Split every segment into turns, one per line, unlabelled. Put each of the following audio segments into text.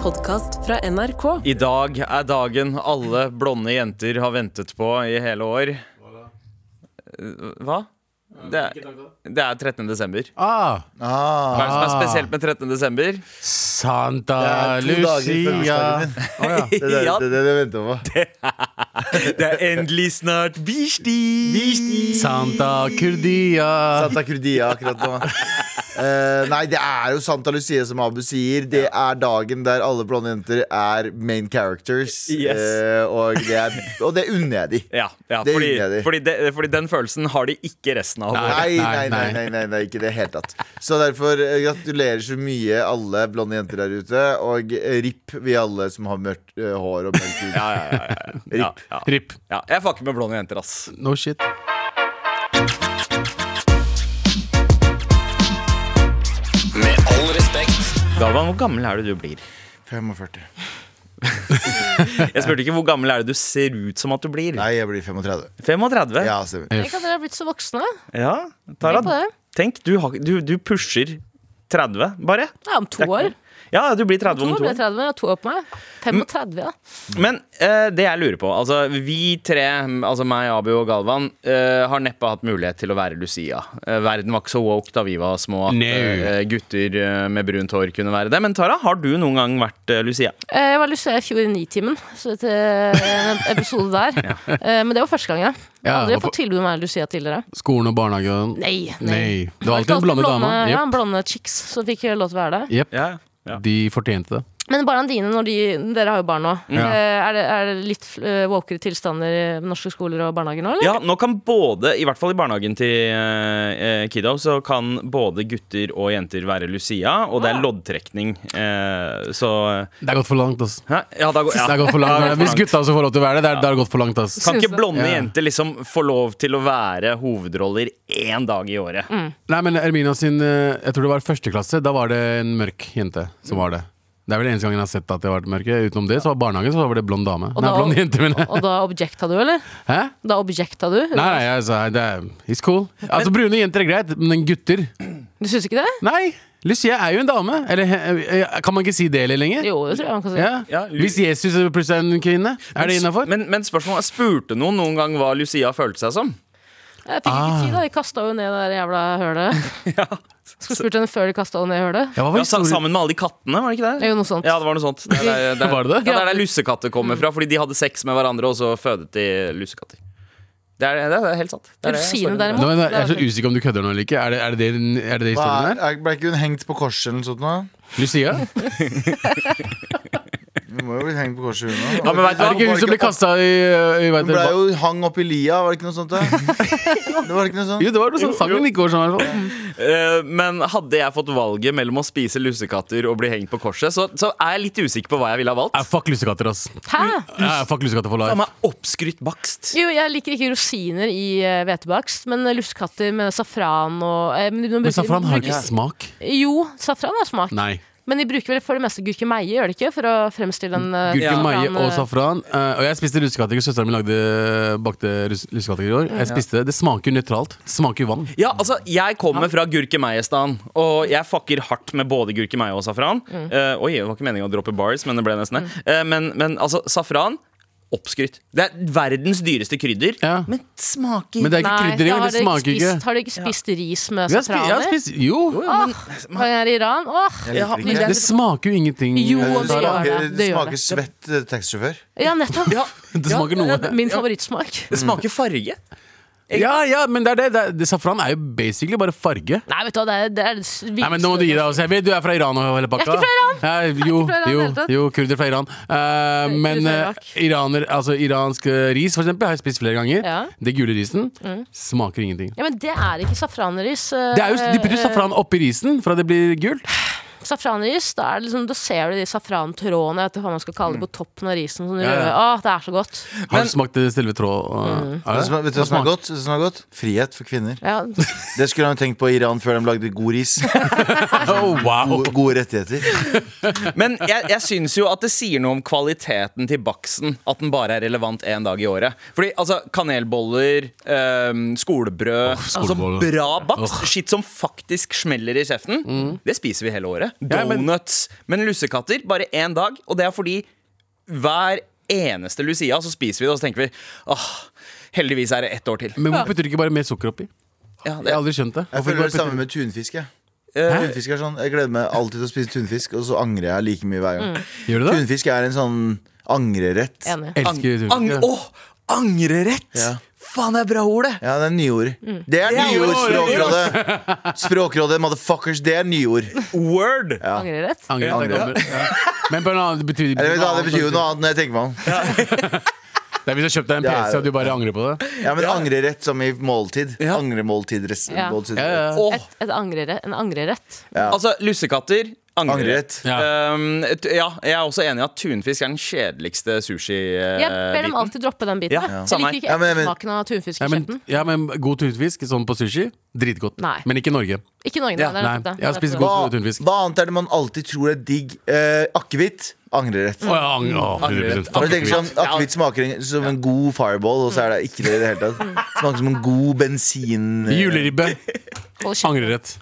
podkast fra NRK.
I dag er dagen alle blonde jenter har ventet på i hele år. Hva? Det er, det er 13. desember.
Ah,
Hva er det som
Ah.
er spesielt med 13. desember?
Santa
Det er to dager før bursdagen
Lucia.
min. Det er det,
Ja,
det, er det jeg venter på.
det er endelig snart birsdag!
Santa Kurdia.
Santa Crudia akkurat nå. Eh, nei, det er jo Santa Lucia som Abu sier. Det er dagen der alle blonde jenter er main characters.
Yes.
Eh, og, det er, og det unner jeg de.
Ja, ja
Det
fordi,
liker jeg de.
fordi, de, fordi den følelsen har de ikke resten av året.
Nei,
Nei,
nei, nei,
nei.
nei, nei, nei ikke i det hele tatt. Så derfor eh, gratulerer så mye alle blonde jenter der ute. Og eh, ripp vi alle som har mørkt eh, hår og mørkt hud.
Ja, ja, ja, ja, ja, ja.
Rip.
ja, jeg fucker med blonde jenter, ass.
No shit.
Med all respekt.
Galvan, hvor gammel er det du blir?
45.
Jeg spurte ikke hvor gammel er det du ser ut som at du blir.
Nei, jeg blir 35.
35?
Ja, stemmer.
Tenk at dere har blitt så voksne.
Ja,
Tenk på
Tara,
det.
tenk, du, har, du, du pusher 30, bare.
Ja, om to
Det er
år.
ikke- Ja, du blir 30
To
om
år
to
blir jeg
år.
30, jeg har to år på meg. 35, ja.
Men eh, det jeg lurer på altså, Vi tre, altså meg, Abu og Galvan, eh, har neppe hatt mulighet til å være Lucia. Eh, verden var ikke så woke da vi var små at
Nei.
eh, gutter eh, med brunt hår kunne være det. Men Tara, har du noen gang vært eh, Lucia?
Eh, Jeg var lyst til å se i fjor i Nitimen, så til en episode der. Eh, Men det var første gang, ja. Jeg har
Ja,
aldri
og på-
fått tilbud om å være Lucia tidligere.
Skolen og barnehagen.
Nei, nei.
Nei. Det var alltid en
Alltid
blonde dame.
Ja,
Jep.
blonde chicks som fikk lov til å være det.
Jep.
Ja, ja.
De fortjente det.
Men barna dine, når de, dere har jo barn nå.
Ja.
Eh, Er, det, er det litt eh, walkere tilstander i norske skoler og barnehager nå, eller?
Ja, nå kan både, i hvert fall i barnehagen til eh, eh, kiddo, så kan både gutter og jenter være Lucia, og
Ah.
det er loddtrekning. Eh, så
Det er gått for langt, ass.
Hæ? Ja, da går, ja.
Det er gått for
Da
langt.
går det
Hvis gutta også får lov til å være det, det er, det er gått for langt, ass.
Kan ikke blonde
Ja.
jenter liksom få lov til å være hovedroller én dag i året?
Nei, men Ermina sin eh, Jeg tror det var første klasse. Da var det en mørk jente som var det. Det er vel den eneste gangen jeg har sett at det var mørke. Utenom det så var barnehagen så var det blond dame. Nei,
da-
blond jente, mener jeg.
Og da objekta du, eller?
Hæ?
Da objekta du?
Nei, nei, altså, det er It's cool. Altså, brune jenter er greit, men gutter
Du syns ikke det?
Nei! Lucia er jo en dame. Eller eh, eh, kan man ikke si det eller lenger?
Jo, det tror jeg man kan si.
Ja.
Ja, Lu-
Hvis Jesus plutselig er en kvinne, er det innafor?
Men, men spørsmålet er, spurte noen noen gang hva Lucia følte seg som?
Jeg fikk ikke tid, da. De kasta jo ned det der jævla hølet. Skulle spurt henne før de kasta henne ned i hølet.
Ja, hva var
Ja, sa-
historien?
sammen med alle de kattene, var det ikke det?
Det er jo noe sånt.
Ja, det var noe sånt. Det er der, der,
Var det det?
Ja, det er der lussekatter kommer fra, fordi de hadde sex med hverandre, og så fødet de lussekatter. Det er, det er helt sant. Det er det
Rosine,
storyen er.
derimot. sånn,
Nå, men jeg er så usikker om du kødder nå eller ikke. Er det, er det, det- er det det
Hva
historien
er,
er?
er- ble ikke hun hengt på korset eller noe sånt nå?
Lucia?
Hun må jo bli hengt på korset, hun nå.
Ja, men vet du
Er det
hva?
ikke hun som ble kasta i, eh, i vet
Hun
du,
ble
ba-
jo hang opp i lia, var det ikke noe sånt? Da? Det var ikke noe sånt
Jo, det var noe sånn sangen ikke var sånn. i hvert fall.
Eh, Men hadde jeg fått valget mellom å spise lussekatter og bli hengt på korset, så, så er jeg litt usikker på hva jeg ville ha
Ja,
valgt.
fuck lussekatter, ass.
Hæ?
Ja, fuck lussekatter for
Ta
life.
meg oppskrytt bakst.
Jo, jeg liker ikke rosiner i eh, hvetebakst, men lussekatter med safran og eh, men, de bruker-
Men safran har ikke
bruker-
smak.
Jo, safran har smak.
Nei.
Men de bruker vel for det meste gurkemeie, gjør de ikke? For å fremstille en eh,
Gurke,
Ja.
maie og
eh,
safran. Eh, og jeg spiste lussekatter. Søsteren min lagde bakte rus- lussekatter i år.
Mm.
Jeg spiste det. Det smaker nøytralt. Det smaker vann.
Ja, altså, Jeg kommer fra gurkemeiestan, og jeg fucker hardt med både gurkemeie og safran.
Mm.
Eh, oi, det var ikke meningen å droppe bars, men det ble nesten det. Eh, men, men altså, safran oppskrytt. Det er verdens dyreste krydder,
Ja.
men smaker
Men det er ikke
Nei,
krydder
da
engang.
har
Det
dere ikke
smaker ikke.
spist, Har dere ikke spist ris med
Jeg har spist,
safran
jeg har
i?
spist Jo!
Åh, jeg er i Iran. Åh.
Jeg liker
men
ikke det.
Det smaker jo ingenting.
Jo,
eh,
det gjør det.
Sara.
smaker,
det, gjør
smaker svett eh, taxisjåfør.
det. Ja, nettopp.
Ja,
Det smaker
ja,
noe.
det-
Min favorittsmak.
Det smaker farge.
Ja, ja, men det er det. det, er, det safran er jo basically bare farge.
Nei, vet du hva, det er det, er det
Nei, men Nå må du gi deg. Også. Jeg vet du er fra Iran. og hele pakka
Jeg er ikke
fra Iran! jo,
fra Iran i
jo,
det hele tatt.
jo, kurder fra Iran. Eh, men
kurder fra
eh,
Irak.
iraner, altså iransk eh, ris for eksempel, har jeg spist flere ganger.
Ja. Mm.
Det gule risen smaker ingenting.
Ja, men det er ikke safranris. eh,
Det er jo, de putter
eh,
safran oppi risen for at det blir gult.
Safranris, da, er det liksom, da ser du de safrantrådene jeg vet ikke hva man skal kalle det, på toppen av risen. Sånn
Mm. Ja, ja.
røde. Åh, det er så godt.
Har du smakt det selve tråd? eh?
Mm.
Vet du hva- vet du hva som er godt? Vet du hva som er godt? Frihet for kvinner.
Ja.
Det skulle han jo tenkt på i Iran før de lagde god ris.
Oh, wow.
Gode, gode rettigheter.
Men jeg, jeg syns jo at det sier noe om kvaliteten til baksten at den bare er relevant én dag i året. Fordi altså, kanelboller, øhm, skolebrød, altså
skoleboller.
bra bakst,
Åh.
skitt som faktisk smeller i kjeften, det spiser vi hele året.
Ja, men-
donuts. Men lussekatter, bare én dag. Og det er fordi hver eneste Lucia så spiser vi det, og så tenker vi åh, heldigvis er det ett år til.
Men hvorfor putter du ikke bare mer sukker oppi?
Ja,
Jeg
det,
har aldri skjønt det.
Jeg
Hvorfor
føler det
ikke bare
samme med tunfisk. Jeg.
eh,
Tunfisk er sånn, jeg gleder meg alltid til å spise tunfisk, og så angrer jeg like mye hver gang.
putter- Gjør du det?
Tunfisk er en sånn angrerett.
Enig.
ang,
Elsker
ang,
tunfisk. ja.
åh, angrerett!
Ja.
Faen, det er bra ord, det!
Ja, det er nyord. Det er nyord, Språkrådet! Språkrådet, motherfuckers, det er nyord.
Word!
Angrer rett.
Angrer, det
Angrer.
kommer. Ja. Men på en annen, det betyr,
Eller vet du hva, det betyr jo noe annet når jeg tenker meg om.
Det er hvis du har kjøpt deg en
Det er
PC
jo-
og du bare angrer på det.
Ja, men angrerett som i måltid.
Ja.
Angremåltid. res-
Ja.
måltid.
Ja, ja.
Åh,
Et, et angrere, en angrerett.
Ja.
Altså, lussekatter, angrerett.
Angrerett.
Ja.
Um, t- ja, jeg er også enig i at tunfisk er den kjedeligste eh,
Eh,
Jeg ber dem
sushi-biten.
alltid droppe den biten.
Ja,
jeg. Jeg
samme
liker ikke
her. Ja, men- men-
ettersmaken av tunfisk
Ja,
i
men,
kjeften.
ja, men god tunfisk sånn på sushi, dritgodt.
Nei.
Men ikke i Norge.
Ikke Norge,
Ja,
nei. det er
nei,
nettopp det.
jeg har
Det er
spist
nettopp
god-
det.
Hva,
Også tunfisk.
hva annet er det man alltid tror er digg? Eh, akevitt. Angrerett.
Å, ja, ang- å, 100%.
Når du tenker sånn, Akevitt smaker en- som en god fireball, og så er det ikke det i det hele tatt. Smaker som en god bensin...
Juleribbe.
Hold kjeften.
Angrerett.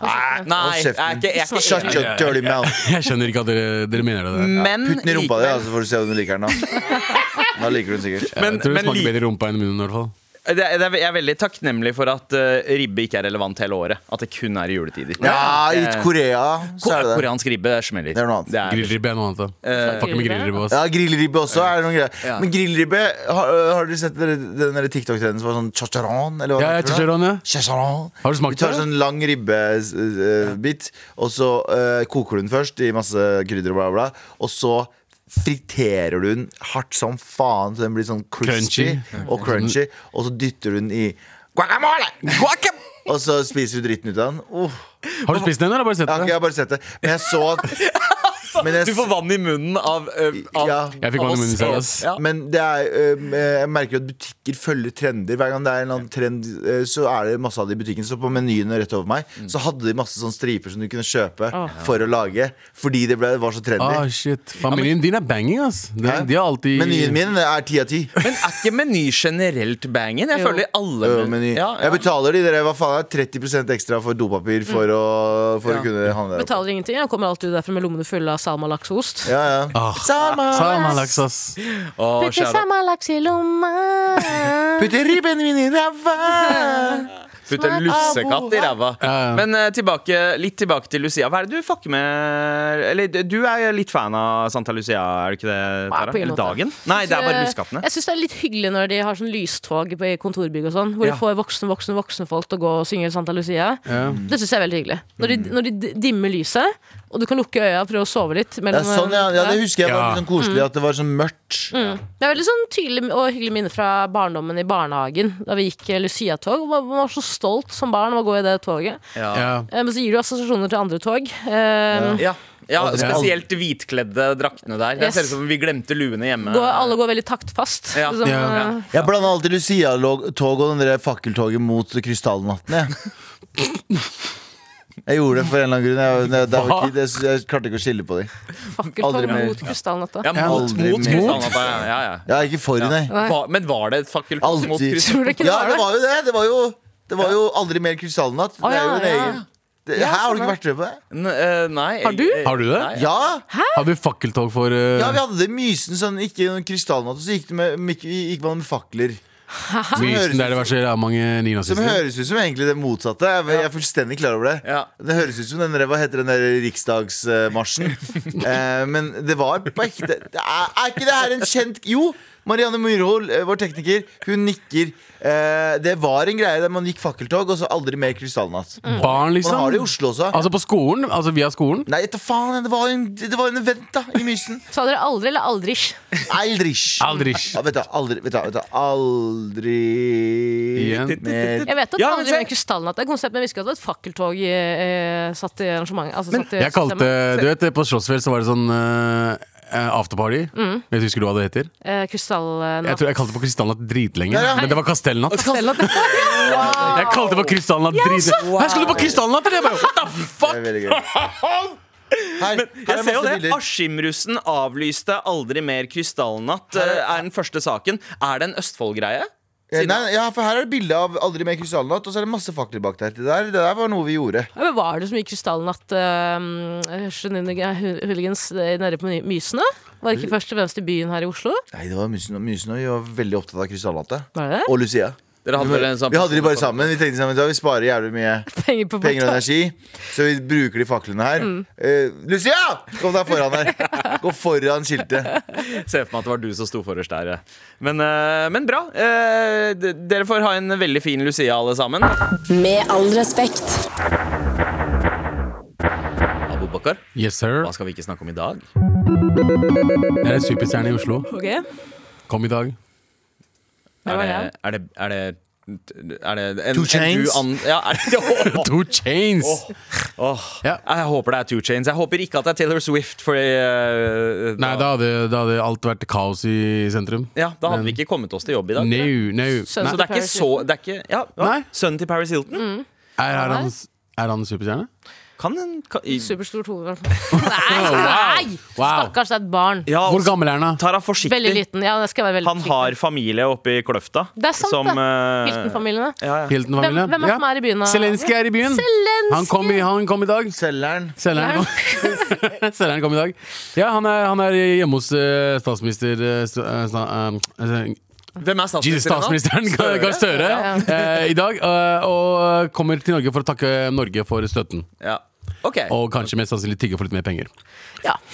Nei, jeg er ikke, jeg er ikke
Shut
enig.
your dirty mouth.
Jeg skjønner ikke at dere, dere mener det. Der.
Men,
Putt den i rumpa di,
likevel-
da, så får du se om du liker den. Da Da liker du den sikkert.
men,
jeg tror det
men
smaker
li-
bedre i rumpa enn i munnen. i hvert fall
det, er- det er, jeg er veldig takknemlig for at eh, ribbe ikke er relevant hele året. At det kun er i juletider.
Ja, i
Eh,
Korea så er det det.
Koreansk ribbe det smeller.
Det er noe annet.
Grillribbe er noe annet. da.
eh,
Fucker med grillribbe også.
Ja, Grillribbe også er det noen greier.
Ja.
Men grillribbe, har, øh, har dere sett den den der TikTok-trenden som var sånn chacharan? Eller hva
Ja,
det
ja,
heter for noe?
chicharron, ja.
Chicharron.
Har du
Du
smakt
tar
det?
sånn lang ribbebit, øh, og så eh, koker du den først i masse krydder og bla, bla, bla. Og så friterer du den hardt som faen, så den blir sånn crispy
Crunchy.
og crunchy. Og så dytter du den i guacamole! Guacam! Og så spiser du dritten ut av den. Uh,
Har du spist den, eller har du bare sett
jeg, har ikke-
den?
jeg har bare sett det. Men jeg så at men jeg,
Du får vann i munnen av, eh, av
Ja.
Jeg fikk
av
vann i
oss.
munnen selv, ass.
Ja.
Men det er, øhm, eh, jeg merker at butikker følger trender. Hver gang det er en eller annen trend, øh, så er det masse av det i butikken. Så på menyen rett over meg Så hadde de masse sånne striper som du kunne kjøpe for å lage. Fordi det ble, var så trendy.
Ah, shit. Familien din er banging, ass. De,
Hæ?
de har alltid
Menyen min er ti av ti.
Men er ikke meny generelt bangen? Jeg
Jo.
føler alle men- Ja, ja.
Øh, Jeg betaler de der hva faen er det, 30 ekstra for dopapir for å, for
Ja.
å kunne handle der. oppe.
Betaler ingenting. Jeg kommer alltid derfra med lommene fulle av salmalaks og ost.
Ja, ja.
Ah,
Salma!
Salmalaks, ass.
Å,
Putter
kjære.
salmalaks i lomma.
Putter ribben min i ræva!
Putter lussekatt i ræva.
Ja, ja.
Men eh, tilbake, litt tilbake til Lucia. Hva er det du fucker med Eller du er litt fan av Santa Lucia, er du ikke det?
Nei,
Tara?
på ingen måte.
Eller dagen? Nei, det er bare lussekattene.
eh, Jeg syns det er litt hyggelig når de har sånn lystog på- i kontorbygg og sånn, hvor
Ja.
de får voksne, voksne, voksne folk til å gå og synge Santa Lucia.
Ja.
Det syns jeg er veldig hyggelig. Når
Mm.
de, når de d- dimmer lyset, og du kan lukke øya og prøve å sove litt.
Ja,
Mellom, eh,
sånn, ja. ja, det husker jeg var
Ja.
litt sånn koselig at det var sånn mørkt.
Det er veldig sånn tydelig og hyggelig minne fra barndommen i barnehagen. Da vi gikk eh, Lucia-tog. Man man var så stolt som barn av å gå i det toget.
Ja.
Eh, Men så gir du assosiasjoner til andre tog. Eh,
Ja, ja
Altså, det er
spesielt de hvitkledde draktene der. Det
Yes.
ser ut som vi glemte luene hjemme.
går, alle går veldig taktfast.
Ja.
Liksom,
Ja.
eh,
Jeg blanda alltid Lucia-tog og den der fakkeltoget mot Krystallnatten. Jeg. jeg gjorde det for en eller annen grunn. Jeg, det, det var ikke, jeg, jeg klarte ikke å skille på dem.
fakkeltog
Aldri mer.
mot krystallnatta.
Ja, mot,
Aldri
mot,
mer.
krystallnatta, ja, ja, ja.
Jeg er ikke for, nei.
Hva- Men var det et fakkelkast mot
Alltid.
krystall?
Tror du ikke
Ja,
det
det
var det?
var jo det. Det var jo, det var jo aldri mer Krystallnatt. Det
Å,
er jo
ja,
en
ja.
egen det, Hæ, har du ikke vært med på det?
N- eh, Nei.
Har du?
jeg-
Har du det?
Nei.
Ja!
Har du fakkeltog for eh,
ja, vi hadde det i Mysen, sånn ikke noen krystallnatt. Og så gikk, det med, mik- gikk man med fakler.
Mysen der det var så jævla mange
Som
nynazister?
høres ut som egentlig det motsatte. Jeg, jeg er fullstendig klar over det.
Ja.
Det høres ut som den der, hva heter den der riksdagsmarsjen. eh, men det var på ekte det er, er ikke det her en kjent Jo! Marianne Myrhol, eh, vår tekniker, hun nikker. Eh, det var en greie der man gikk fakkeltog, og så aldri mer Krystallnatt.
Barn, liksom?
Man har det i Oslo også.
Altså på skolen? Altså via skolen?
Nei, ta faen, det var, en, det var en event da, i Mysen.
Sa dere aldri eller aldri?
Aldrich.
Aldri.
Ja, vet du, aldri, vet du, vet du, aldri
Igjen.
mer
Jeg vet at
Ja, men
aldri
se-
var en krystallnatt. Det er et konsept, men jeg visste ikke at det var et fakkeltog eh, satt i arrangementet. Altså, satt i
Jeg kalte
systemet.
Du vet, på Slottsfjell så var det sånn eh, afterparty. Vet du, husker du hva det heter?
eh, krystallnatt.
Jeg tror jeg kalte det for krystallnatt dritlenge.
Ja, ja.
Men det var kastellnatt.
Krystallnatt.
Jeg kalte det for krystallnatt dritlenge. Her skal du på krystallnatt, eller? Jeg bare, what the
Det er
fuck?
veldig gøy. Her, her
Jeg
er
ser jo
masse
det.
bilder.
Askim-russen avlyste Aldri mer krystallnatt, eh, er den første saken. Er det en Østfold-greie?
Eh, Nei, nei, ja, for her er det bilde av Aldri mer krystallnatt, og så er det masse fakler bak der. Det der, det der var noe vi gjorde.
Ja, men var det så mye krystallnatt uh, Hooligans eh, nede på My- Mysene? Var det ikke først og fremst i byen her i Oslo?
Nei, det var Mysen og Mysen, og vi var veldig opptatt av krystallnattet.
Var det det?
Og Lucia.
Dere hadde vel en sånn
Vi hadde de bare sammen. Vi tenkte sammen, ja, vi sparer jævlig mye
Penger på Mm.
penger og
bordet.
energi, så vi bruker de faklene her. Eh, Lucia! Kom deg foran her. Gå foran skiltet.
Se for meg at det var du som sto forrest der. ja. Men, eh, men bra. Eh, d- Dere får ha en veldig fin Lucia, alle sammen.
Med all respekt.
Abu Bakar,
Yes, sir.
hva skal vi ikke snakke om i dag?
Jeg er en superstjerne i Oslo.
Ok, det
Kom i dag.
Er
var
det,
jeg.
er det, er det er det en,
Two Chainz?
En uan, ja, er det, Åh,
Two chains!
åh.
Ja.
Jeg håper det er Two Chains. Jeg håper ikke at det er Taylor Swift. Fordi, eh,
Nei, da hadde, da hadde alt vært kaos i sentrum.
ja, da hadde vi ikke kommet oss til jobb i dag.
No, no.
Sønnen
Nei.
Så det er ikke så det er ikke, ja, ja.
Nei.
Sønnen til Paris Hilton?
Mm.
Er, er, han, er han superstjerne?
Kan en kan, i,
Superstort hode, i hvert fall. Nei! nei!
Wow.
Stakkars, det er et barn.
ja,
Hvor gammel er han, da?
Tara
Veldig
forsiktig.
liten. Ja, det skal jeg være veldig
Han har familie oppe i Kløfta.
Det er sant,
som,
det.
eh,
Hilton-familiene.
ja, ja.
Hvem,
Hilton-familien?
hvem er det som er i byen? da?
Zelenskyj er i byen.
Zelenskyj!
Han kom i, han kom i dag.
Selgeren.
Selgeren kom. Selgeren kom i dag. Ja, han er, han er hjemme hos eh, statsminister eh, sta- eh, sta- eh,
Hvem er
Jesus, statsministeren Gahr Gahr Støre eh, i dag. eh, og kommer til Norge for å takke Norge for støtten.
Ja. Ok.
Og kanskje mest sannsynlig tigge for litt mer penger.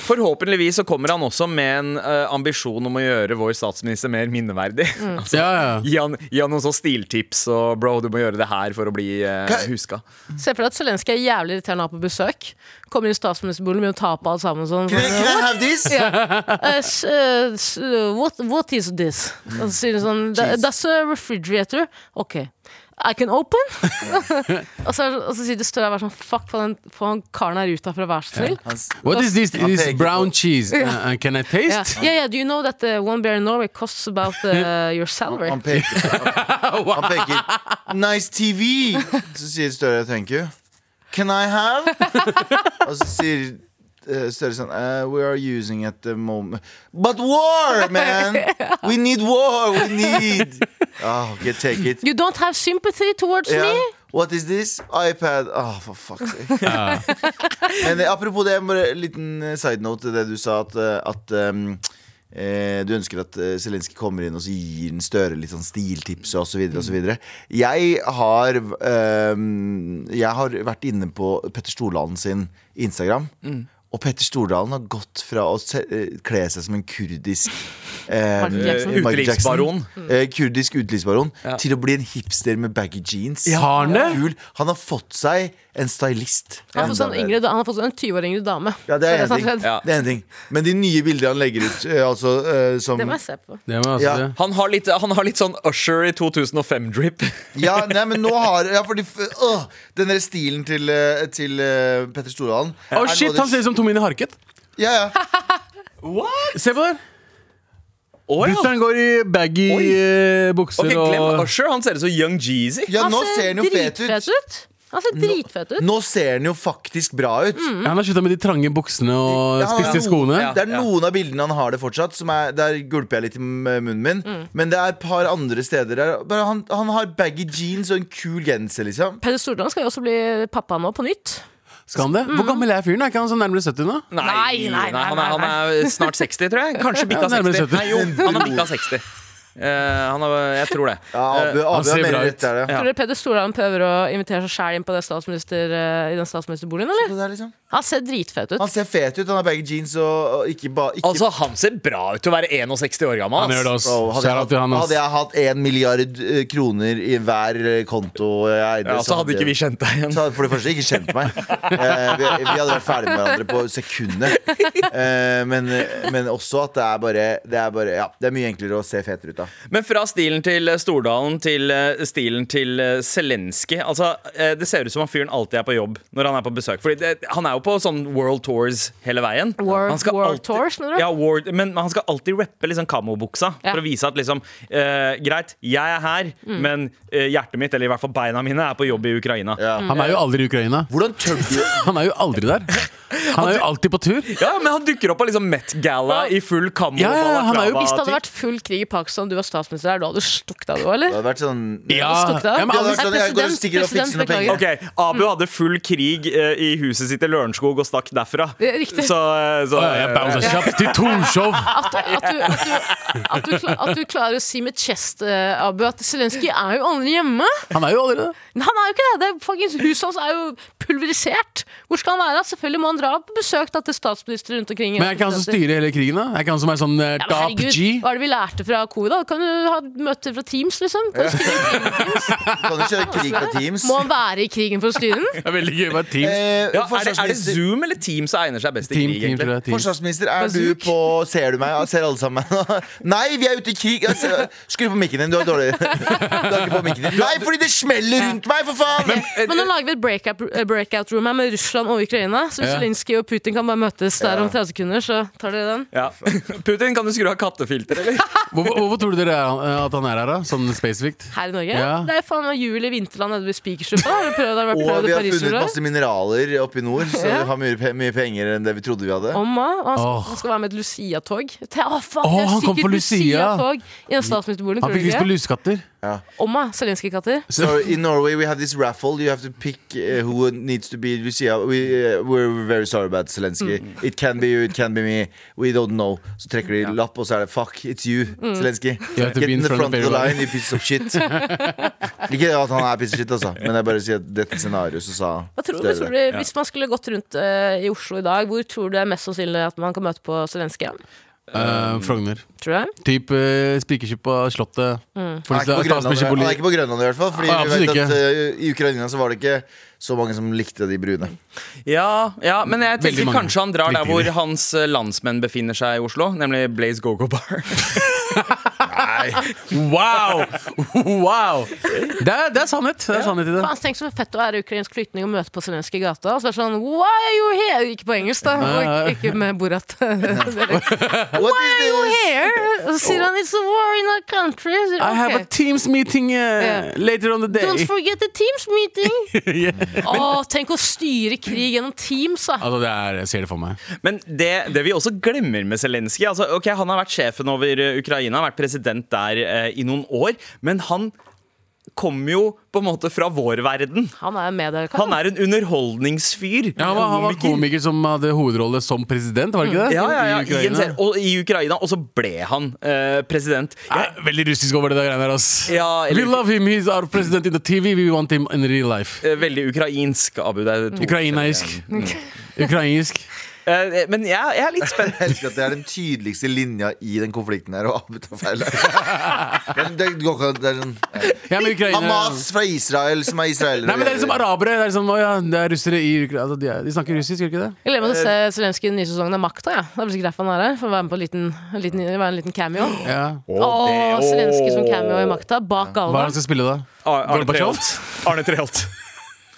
Forhåpentligvis så kommer han også med en eh, ambisjon om å gjøre vår statsminister mer minneverdig.
Mm.
altså,
Ja, ja.
gi, han, gi han noen sånn stiltips og 'bro, du må gjøre det her for å bli eh,
Hva-
huska'.
Se for deg at Zelenskyj er jævlig irriterende å ha på besøk. Kommer inn i statsministerboligen med å ta på alt sammen sånn.
Can I, can I have this?
Eh, s- eh, s- eh, what, what is this? Og så sier hun sånn "Tha- That's a refrigerator. Ok. I can open. og, så, og så sier det står jeg og er sånn Fuck, få den, få han karen her ut herfra, vær så snill.
Hans,
What is this?
Han
This
peker
brown
på-
cheese? Uh, uh, can I taste?
Ja, yeah, yeah, do you know that uh, one beer in Norway costs about uh, your salary?
han peker. Han peker. Nice TV! Så sier Støre thank you. Can I have? Og så sier eh, Støre sånn eh, We are using at the moment But war, man! We need war! We need Ah, okay, take it.
You don't have sympathy towards me?
Ja. What is this? iPad. Ah, for fuck's sake. Men eh, apropos det, bare en liten eh, side note til det du sa, at, eh, at ehm, eh, du ønsker at eh, Zelenskyj kommer inn og så gir den Støre litt sånn stiltips og så videre og så videre. Jeg har ehm, Jeg har vært inne på Petter Stordalen sin Instagram. Og Petter Stordalen har gått fra å se, eh, kle seg som en kurdisk eh,
Michael Jackson.
Michael Jackson,
Utenriksbaron.
Mm.
eh, kurdisk utenriksbaron til å bli en hipster med baggy jeans.
Har han det?
Kul. Han har fått seg en stylist.
Han har fått sånn yngre, da- han har fått sånn en 20 år yngre dame.
Ja, det er
som
én ting.
skjedd.
Ja.
Det er en ting. Men de nye bildene han legger ut, eh, altså eh, som
Det må jeg se på.
Det var altså
Ja.
det.
Han har litt, han har litt sånn Usher i 2005-drip.
Ja, nei, men nå har ja, fordi, øh, Den der stilen til, eh, til eh, Petter Stordalen
Å, shit, han ser ut som Tomine Harket.
Ja, ja.
Se på det.
Oh,
Brutter'n går i baggy
Oi.
eh, bukser
Ok, glem
og
Usher. Han ser ut som Young Jeezy.
ja nå ser han jo fet
dritfet
ut.
ut. Han ser dritfet ut.
Nå ser han jo faktisk bra ut.
Ja, Han har slutta med de trange buksene og
Ja, han
spisse
er-
skoene.
Ja.
Det er noen av bildene han har det fortsatt. Som er, der gulper jeg litt i m- munnen min.
Mm.
Men det er et par andre steder der. Bare han, han har baggy jeans og en kul genser, liksom.
Peder Stordalen skal jo også bli pappa nå, på nytt.
Skal han det? Hvor gammel er fyren? Er ikke han sånn nærmere 70 nå?
Nei, nei, nei,
han, er, han er snart 60, tror jeg. Kanskje bikka
Ja, nærmere
60.
70.
Nei, jo, han har bikka 60. Eh, han har, jeg tror det.
Ja, Abu,
Eh,
Abu
ser
er mer
bra ut.
rett der, ja.
Tror dere Peder Stordalen prøver å invitere seg sjæl inn på det statsminister, eh, i den statsministerboligen, eller?
Det der, liksom.
Han ser dritfet ut.
Han ser fet ut. Han har baggy jeans og, og ikke ba... Ikke
altså, han ser bra ut til å være 61 år gammel.
Han
ass.
gjør det, ass.
Bro, hadde, jeg
Shout out
hatt,
til han,
hadde
ass.
jeg hatt én milliard eh, kroner i hver eh, konto jeg eide
Ja, så hadde ikke vi kjent deg igjen.
så hadde for det første ikke kjent meg. Eh, vi, vi hadde vært ferdig med hverandre på sekundet. Eh, men, men også at det er bare Det er, bare, ja, det er mye enklere å se fetere ut av.
Men fra stilen til eh, Stordalen til eh, stilen til eh, Zelenskyj. Altså, eh, det ser ut som han fyren alltid er på jobb når han er på besøk. Fordi det, han er jo på sånn world tours hele veien.
World-
han skal
world tours, mener du?
Ja, world, men han skal alltid rappe liksom kamobuksa
Ja. Mm.
for å vise at liksom eh, Greit, jeg er her, men eh, hjertet mitt, eller i hvert fall beina mine, er på jobb i Ukraina.
Ja.
Han er jo aldri i Ukraina.
Hvordan tør du
Han er jo aldri der. Han er jo alltid på tur.
Ja, men han dukker opp på liksom Met Gala i full kamo
Ja, ja, han er jo-
Hvis det hadde vært full krig i Pakistan, du var statsminister der, da hadde du stukket av, du òg,
Det
eller?
hadde vært sånn
Stukket av?
Ja, men alle-
Nei,
sånn, jeg går og
president,
stikker og fikser
president,
noen penger.
beklager.
Ok, Abu hadde full krig eh, i huset sitt i Lørenskog og stakk derfra.
Det er riktig.
Så, eh, så
Å, Jeg bouncer kjapt til Torshov!
At, at, du, at, du, at, du, kla- at du klarer å si med chest, eh, Abu, at Zelenskyj er jo aldri hjemme.
Han er jo aldri det.
Men Han er jo ikke det. det er, fuckings Huset hans er jo pulverisert. Hvor skal han være? da? Selvfølgelig må han dra på besøk da, til statsministre rundt omkring.
Men er ikke han som styrer hele krigen, da? Er ikke han som er sånn eh,
Ja, men
top
herregud,
G?
Hva er det vi lærte fra covid? da? Kan du ha møter fra Teams, liksom? Kan du skrive i Teams?
Kan du kjøre krig på Teams?
Må han være i krigen for å styre den?
Det er veldig gøy. Bare
Eh,
Teams.
Ja, er, det, er det
forsvarsminister-
Zoom eller Team som egner seg best i
Team,
krig?
team, tror
egentlig?
jeg, teams.
Forsvarsminister, er du på Ser du meg? Ja, Ser alle sammen? Nei, vi er ute i krig! Ja, se- Skru på mikken din, du er dårlig. Du har ikke på mikken din. Nei, fordi det smeller rundt meg, for faen!
Men nå lager vi et breakout, eh, breakout room her med Russland og Ukraina. Så hvis
Ja.
Zelenskyj og Putin kan bare møtes der om
Ja.
30 sekunder, så tar dere den.
Ja. Putin, kan du skru av kattefilter, eller?
Hvorfor, hvorfor tror dere er han- at han er her, da? Sånn spesifikt?
Her i Norge?
Ja.
Det er faen meg jul i vinterland nede ved Spikersuppa. Har du prøvd, har du prøvd
Og vi
i
har funnet
Paris-jorda?
masse mineraler oppe i nord, så vi har mye, pe- mye penger enn det vi trodde vi hadde.
Omma, og han,
Åh.
han skal være med et Lucia-tog. Te- Å, faen,
Åh,
det er
han kom
sikkert
på Lucia.
Lucia-tog i den statsministerboligen,
Han
tror du
fikk lyst på
ikke?
lusekatter.
Omma, Zelenskyj-katter.
So in Norway we have this raffle. You have to pick uh, who needs to be Lucia. We, uh, we're very sorry about Zelenskyj.
Mm.
It can be you, it can be me. We don't know. Så trekker de lapp, og så er det fuck, it's you, Zelenskyj.
Mm. You have to
Get
be
in the front of the
everyone.
line, you piece of shit. Ikke at han er piece of shit, altså, men jeg bare sier at dette scenarioet så sa
Hva tror du,
Støre
tror
det. er
du, Hvis man skulle gått rundt eh, i Oslo i dag, hvor tror du det er mest sannsynlig at man kan møte på Zelenskyj?
Eh, Frogner.
Tror jeg.
Typ uh, Spikerskippa, Slottet. For
Han er, ikke på Grønland, i hvert- han er ikke
statsministerboligen.
på Grønland i hvert fall. Fordi
Nei,
vi vet
Ah, absolutt
at uh, I Ukraina så var det ikke så mange som likte de brune.
Ja, ja, men jeg
Veldig
tenker
mange.
kanskje han drar der hvor
Riktig.
hans eh, landsmenn befinner seg i Oslo, nemlig Blaze Go-Go Bar.
Wow! wow! Det er, det er sannhet. Det er sannhet i det.
Faen, tenk så fett å være ukrainsk flyktning og møte på Zelenskyj i gata. Og så er det sånn Why are you here? Ikke på engelsk, da. Og ikke- ikke med Borat.
What is this?
here? Og så sier han It's a war in our country. Så sier
I have
han,
a
«Ok,
Teams meeting eh,
Ja.
later on the day.
Don't forget the Teams meeting!
Yeah.
Åh, tenk å styre krig gjennom Teams, da.
Altså, det er, jeg ser det for meg.
Men det, det vi også glemmer med Zelenskyj altså, ok, Han har vært sjefen over eh, Ukraina, har vært president der eh, i noen år. Men han kommer jo på en måte fra vår verden.
Han er med der.
Han er en underholdningsfyr.
Ja, han, var, han var komiker som hadde hovedrolle som president, var det ikke det?
Ja, ja, ja, I
I
en
Ukraina.
serie. Og i Ukraina. Og så ble han eh, president.
Jeg er veldig russisk over det der greiene der, ass.
Ja, eller-
We love him, he's our president in the TV, we want him in real life.
Eh, Veldig ukrainsk, Abu. Det er to
Ukrainaisk. Ukrainsk.
Eh, Men jeg, jeg er litt spent.
Jeg elsker at det er den tydeligste linja i den konflikten her. Og Abu tar feil. Men det går ikke det er sånn
Ja, men Ukraina
Hamas fra Israel, som er israelere.
Nei, men det er liksom arabere. Det er liksom, å ja, det er russere i Ukraina. Altså, de, er, de snakker russisk, gjør de ikke det?
Jeg gleder meg til å se Zelenskyj i den nye sesongen av Makta. Ja. Det er vel sikkert derfor han er her. For å være med på en liten, en liten, være en liten cameo.
Ja.
Åh, Zelenskyj som cameo i Makta. Bak
Hva er det
Galvan.
han skal spille, da?
Ar- Arne
Gorbatsjov?
Treholt. Arne Treholt.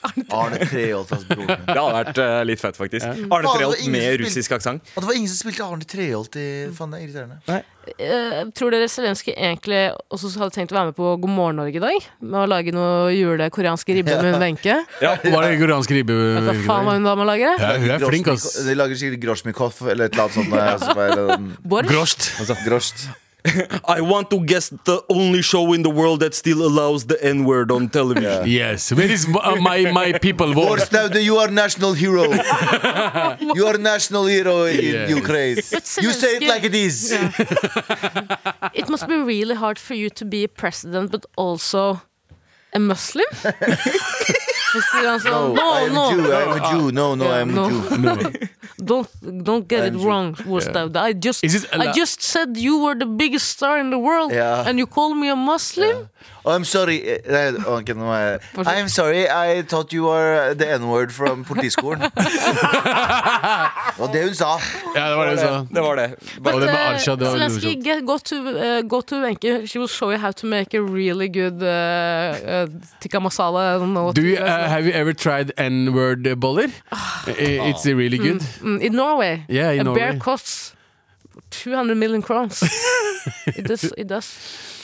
Arne Treholt, altså, hans bror.
Det hadde vært eh, litt fett, faktisk. Arne
Faen,
Treholt
ingen
med
spill-
russisk aksent.
Og det var ingen som spilte Arne Treholt i Faen, det er irriterende.
Eh, tror dere Zelenskyj egentlig også hadde tenkt å være med på God morgen Norge i dag? Med å lage noe julekoreanske ribbe med hun Wenche?
Var det koreansk ribbe?
Hva faen var hun da med å lage?
Ja, hun er flink, ass.
Grosjnikov- De lager sikkert Grosjnikov eller et eller annet sånt. når jeg også bare, um,
Borg?
Grosjt.
Grosjt.
I want to guess the only show in the world that still allows the N-word on television.
Yes. Where is my, uh, my, my people war?
Forstaude, you are national hero. You are national hero in
Yes.
Ukraine. You say it
Zelenskyj-
like it is.
It must be really hard for you to be a president, but also a Muslim? Så sier han sånn,
I am
no,
a Jew,
no,
I am a Jew. No, no, I am
No.
a Jew.
don't, don't get it
I'm Jew.
wrong, Wostaude. I, just,
Is it
I
alla-
just said you were the biggest star in the world,
Ja.
and you call me a Muslim?
Oh, I'm sorry Eh, Nei, ok, nå må jeg I'm sorry, I thought you were the N-word from politiskolen. Det var det hun sa.
Ja, det var det hun sa.
Det var det.
Og det med
Eh,
Arshad, det var
Zelensky,
grusomt.
get, go to, uh, go to Wenche. She will show you how to make a really good uh, uh, tikka masala. I don't know what
Do
to Ah.
you,
do.
uh, have you ever tried N-word
Hmm.
boller? I- It's really good.
Mm, in Norway.
Yeah, in
a
Norway.
bear costs 200 million crowns. It does, it does.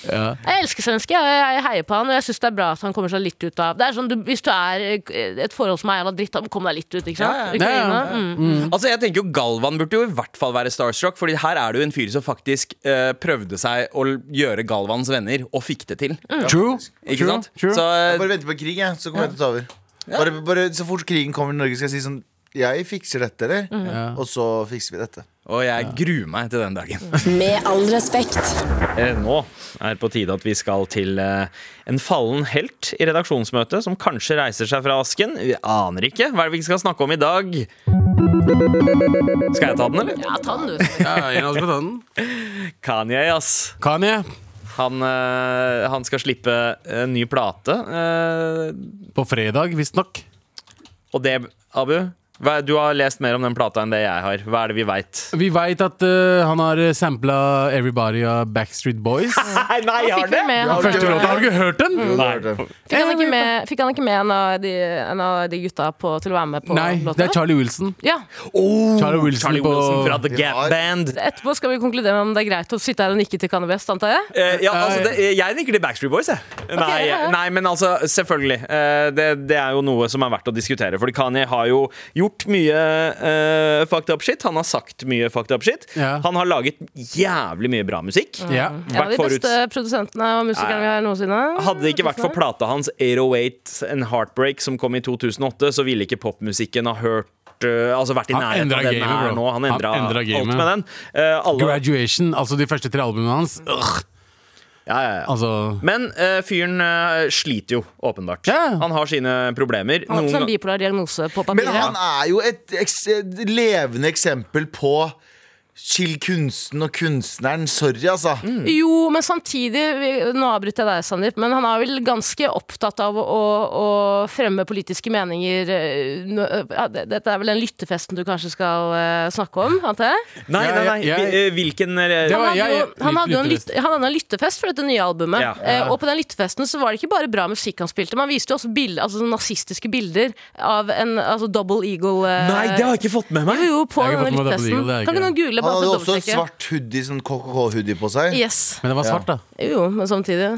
Ja.
Jeg elsker Svenske, og jeg jeg heier på han. Og jeg syns det er bra at han kommer seg litt ut av Det er sånn, du, Hvis du er eh, et forhold som er jævla dritt, da kom deg litt ut, ikke sant?
Ja, ja, ja.
Ukraina.
Ja,
Mm.
Altså jeg tenker jo Galvan burde jo i hvert fall være starstruck, Fordi her er det jo en fyr som faktisk eh, prøvde seg å l- gjøre Galvans venner, og fikk det til.
True.
Ikke
True.
sant?
True.
Så eh,
Bare venter på krig, jeg, så kommer jeg til å ta over. Bare, bare Så fort krigen kommer til Norge, skal jeg si sånn Jeg fikser dette, eller?
Mhm.
Ja.
Og så fikser vi dette.
Og jeg gruer meg til den dagen.
Med all respekt.
Eh, Nå er det på tide at vi skal til eh, en fallen helt i redaksjonsmøtet, som kanskje reiser seg fra asken. Vi aner ikke. Hva er det vi skal snakke om i dag? Skal jeg ta den, eller?
Ja, ta den, du.
Ja, en av oss skal ta den.
Kanye, ass.
Kanye
Han, eh, han skal slippe en ny plate. eh,
på fredag, visstnok.
Og det, Abu, hva, du har lest mer om den plata enn det jeg har. Hva er det vi veit?
Vi veit at eh, han har sampla Everybody av Backstreet Boys.
Nei, nei,
Fikk vi med han.
Første låta, Har du ikke hørt den?
Fikk han ikke med, fikk han ikke med en, av de, en av de gutta på, til å være med på
Nei, det er Charlie Wilson.
Ja.
Charlie Wilson,
Oh, Charlie Wilson
på
fra The Gap
Ja.
Band.
Etterpå skal vi konkludere om det er greit å sitte her og nikke til Kanye West, antar jeg.
Eh, ja, altså, det, jeg nikker til Backstreet Boys, jeg. Nei,
ja, ja.
nei, men altså, selvfølgelig. Eh, det, det er jo noe som er verdt å diskutere. Fordi Kanye har jo gjort mye eh, fucked up shit. Han har sagt mye fucked up shit.
Ja.
Han har laget jævlig mye bra musikk.
Ja.
En av de
Vært forut-
beste produsentene og musikerne
Nei.
vi har noensinne.
Hadde det ikke vært for plata hans 808 and Heartbreak som kom i 2008, så ville ikke popmusikken ha hørt øh, Altså vært i
Han
nærheten av
endra
den den
gamet,
er
bro.
nå. Han
Han
endra
endra
alt
gamet.
med den. Eh, alle,
Graduation, altså de første tre albumene hans. Ugh,
ja, ja, ja.
altså
Men eh, fyren eh, sliter jo, åpenbart.
Ja.
Han har sine problemer.
Han hadde
Noen
sånn
gang-
bipolar diagnose på
Men
papiret.
han er jo et, eks- et levende eksempel på Chill kunsten og kunstneren. Sorry, altså.
Jo, men samtidig vi- Nå avbryter jeg deg, Sandeep, men han er vel ganske opptatt av å, å, å fremme politiske meninger eh, nå- ja, det- Dette er vel den lyttefesten du kanskje skal eh, snakke om, antar jeg?
Nei, nei, nei.
Jeg- jeg-
Vi- eh, Hvilken eh,
Det
Han
var-
hadde,
jeg-
jo,
jeg-
han hadde jo en,
lyttefest.
lytte, han hadde en lyttefest for dette nye albumet.
Ja.
eh, Og på den lyttefesten så var det ikke bare bra musikk han spilte, man viste jo også bilder, altså, sånne nazistiske bilder av en altså, double eagle eh,
Nei, det har jeg ikke fått med meg!
Jo, på
Jeg har
denne
ikke fått med meg double
lyttefesten.
eagle, det er
Kan
ikke-
ikke noen google
Han
bare for
hadde
å
også
dobbeltsjekke?
svart hoodie, sånn KKK-hoodie på seg.
Yes.
Men det var svart, da.
Jo, men samtidig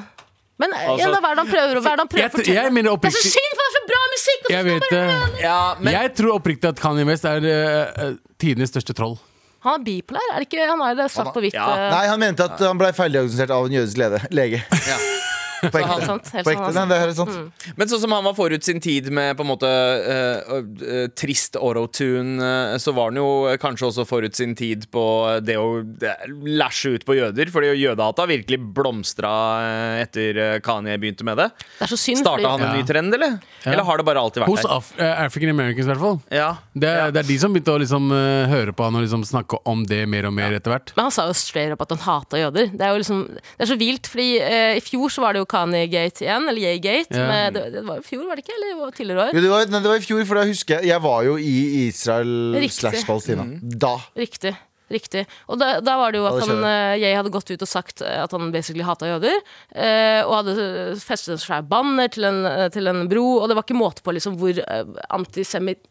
Men eh,
Altså-
igjen da, hva er det han prøver, å- hva er det han prøver
Jeg-
å fortelle?
jeg mener
det er så
oppriktig-
synd, for det er så bra musikk! Og så
Jeg
skal
vet
han bare...
det.
Ja, men
Jeg tror oppriktig at Kanye West er eh, eh, tidenes største troll.
Han er bipolar, er det ikke? Han er det svart på hvitt.
ja.
eh,
Nei, han mente at han ble feildiagnosert av en jødisk lede, lege. På
helt
ekte.
sant, helt
På
sant,
ekte.
altså.
Nei, det her er sant.
Men sånn som han var forut sin tid med på en måte eh, eh, trist orotune, eh, så var han jo kanskje også forut sin tid på det å eh, læsje ut på jøder. Fordi jødehata virkelig blomstra eh, etter eh, Kanye begynte med det.
Det er så synd, fordi
Starta han en
Ja.
ny trend, eller? Eller har det bare alltid vært
Hos
der?
Af eh, African Americans, i hvert fall.
Ja.
Det, er-
Ja.
det er de som begynte å liksom, eh, høre på han og liksom snakke om det mer og mer etter hvert.
Men han sa jo straight up at han hata jøder. Det er jo liksom, det er så vilt, fordi eh, i fjor så var det jo Kanye-gate igjen, eller Yay-gate.
Ja.
men Det, det var jo i fjor, var det ikke? Eller det var tidligere
Jo,
år?
det, var, nei, det var i fjor, for da husker jeg Jeg var jo i Israel
Riktig.
slash Palestina.
Mm.
Da.
Riktig. Riktig. Og da, da var det jo at
det
han, eh, jeg hadde gått ut og sagt eh, at han basically hata jøder. eh, og hadde eh, festet en svær banner til en, eh, til en bro, og det var ikke måte på liksom hvor eh, antisemitt...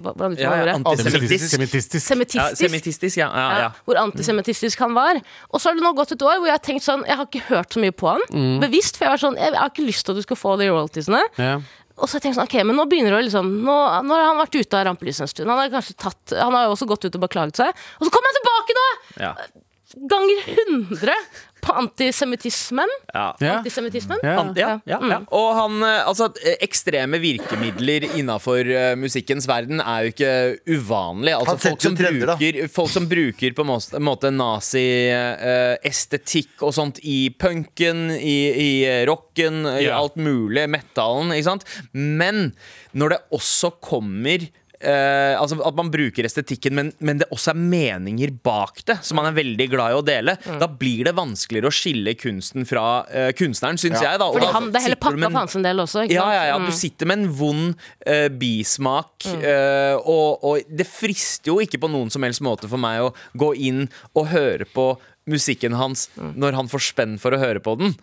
hva- Hvordan
Ja,
uttaler
ja,
man det?
antisemittisk.
Semittistisk.
Ja,
Semittistisk.
Semittistisk, ja. ja,
ja.
ja.
Hvor antisemittistisk han var. Og så har det nå gått et år hvor jeg har tenkt sånn Jeg har ikke hørt så mye på han.
Mm.
Bevisst, for jeg var sånn Jeg har ikke lyst til at du skal få de royaltiesene.
Ja.
Og så har jeg tenkt sånn Ok, men nå begynner det å liksom Nå, nå har han vært ute av rampelyset en stund. Han har kanskje tatt Han har jo også gått ut og beklaget seg. Og så kommer han tilbake nå!
Ja.
Ganger 100 på antisemittismen.
Ja.
Ja.
Antisemittismen.
Ja.
An- Ja, ja, ja. Og han, eh, altså, at, eh, ekstreme virkemidler innafor musikkens verden er jo ikke uvanlig. Altså,
Han setter
folk, som
jo trender, da.
bruker, folk som bruker på en mås- en måte nazi-estetikk og sånt i punken, i, i rocken, i
Ja.
alt mulig, metallen, ikke sant? Men når det også kommer eh, altså At man bruker estetikken, men, men det også er meninger bak det, som man er veldig glad i å dele, da blir det vanskeligere å skille kunsten fra eh, kunstneren, syns
Ja.
jeg. da
Fordi
og da
han, det er hele
sitter du med
pakka
en-
for hans en del også. Ikke
ja,
sant? Mm.
ja, ja, du sitter med en vond eh, bismak, eh, og, og det frister jo ikke på noen som helst måte for meg å gå inn og høre på musikken hans
Mm.
når han får spenn for å høre på den.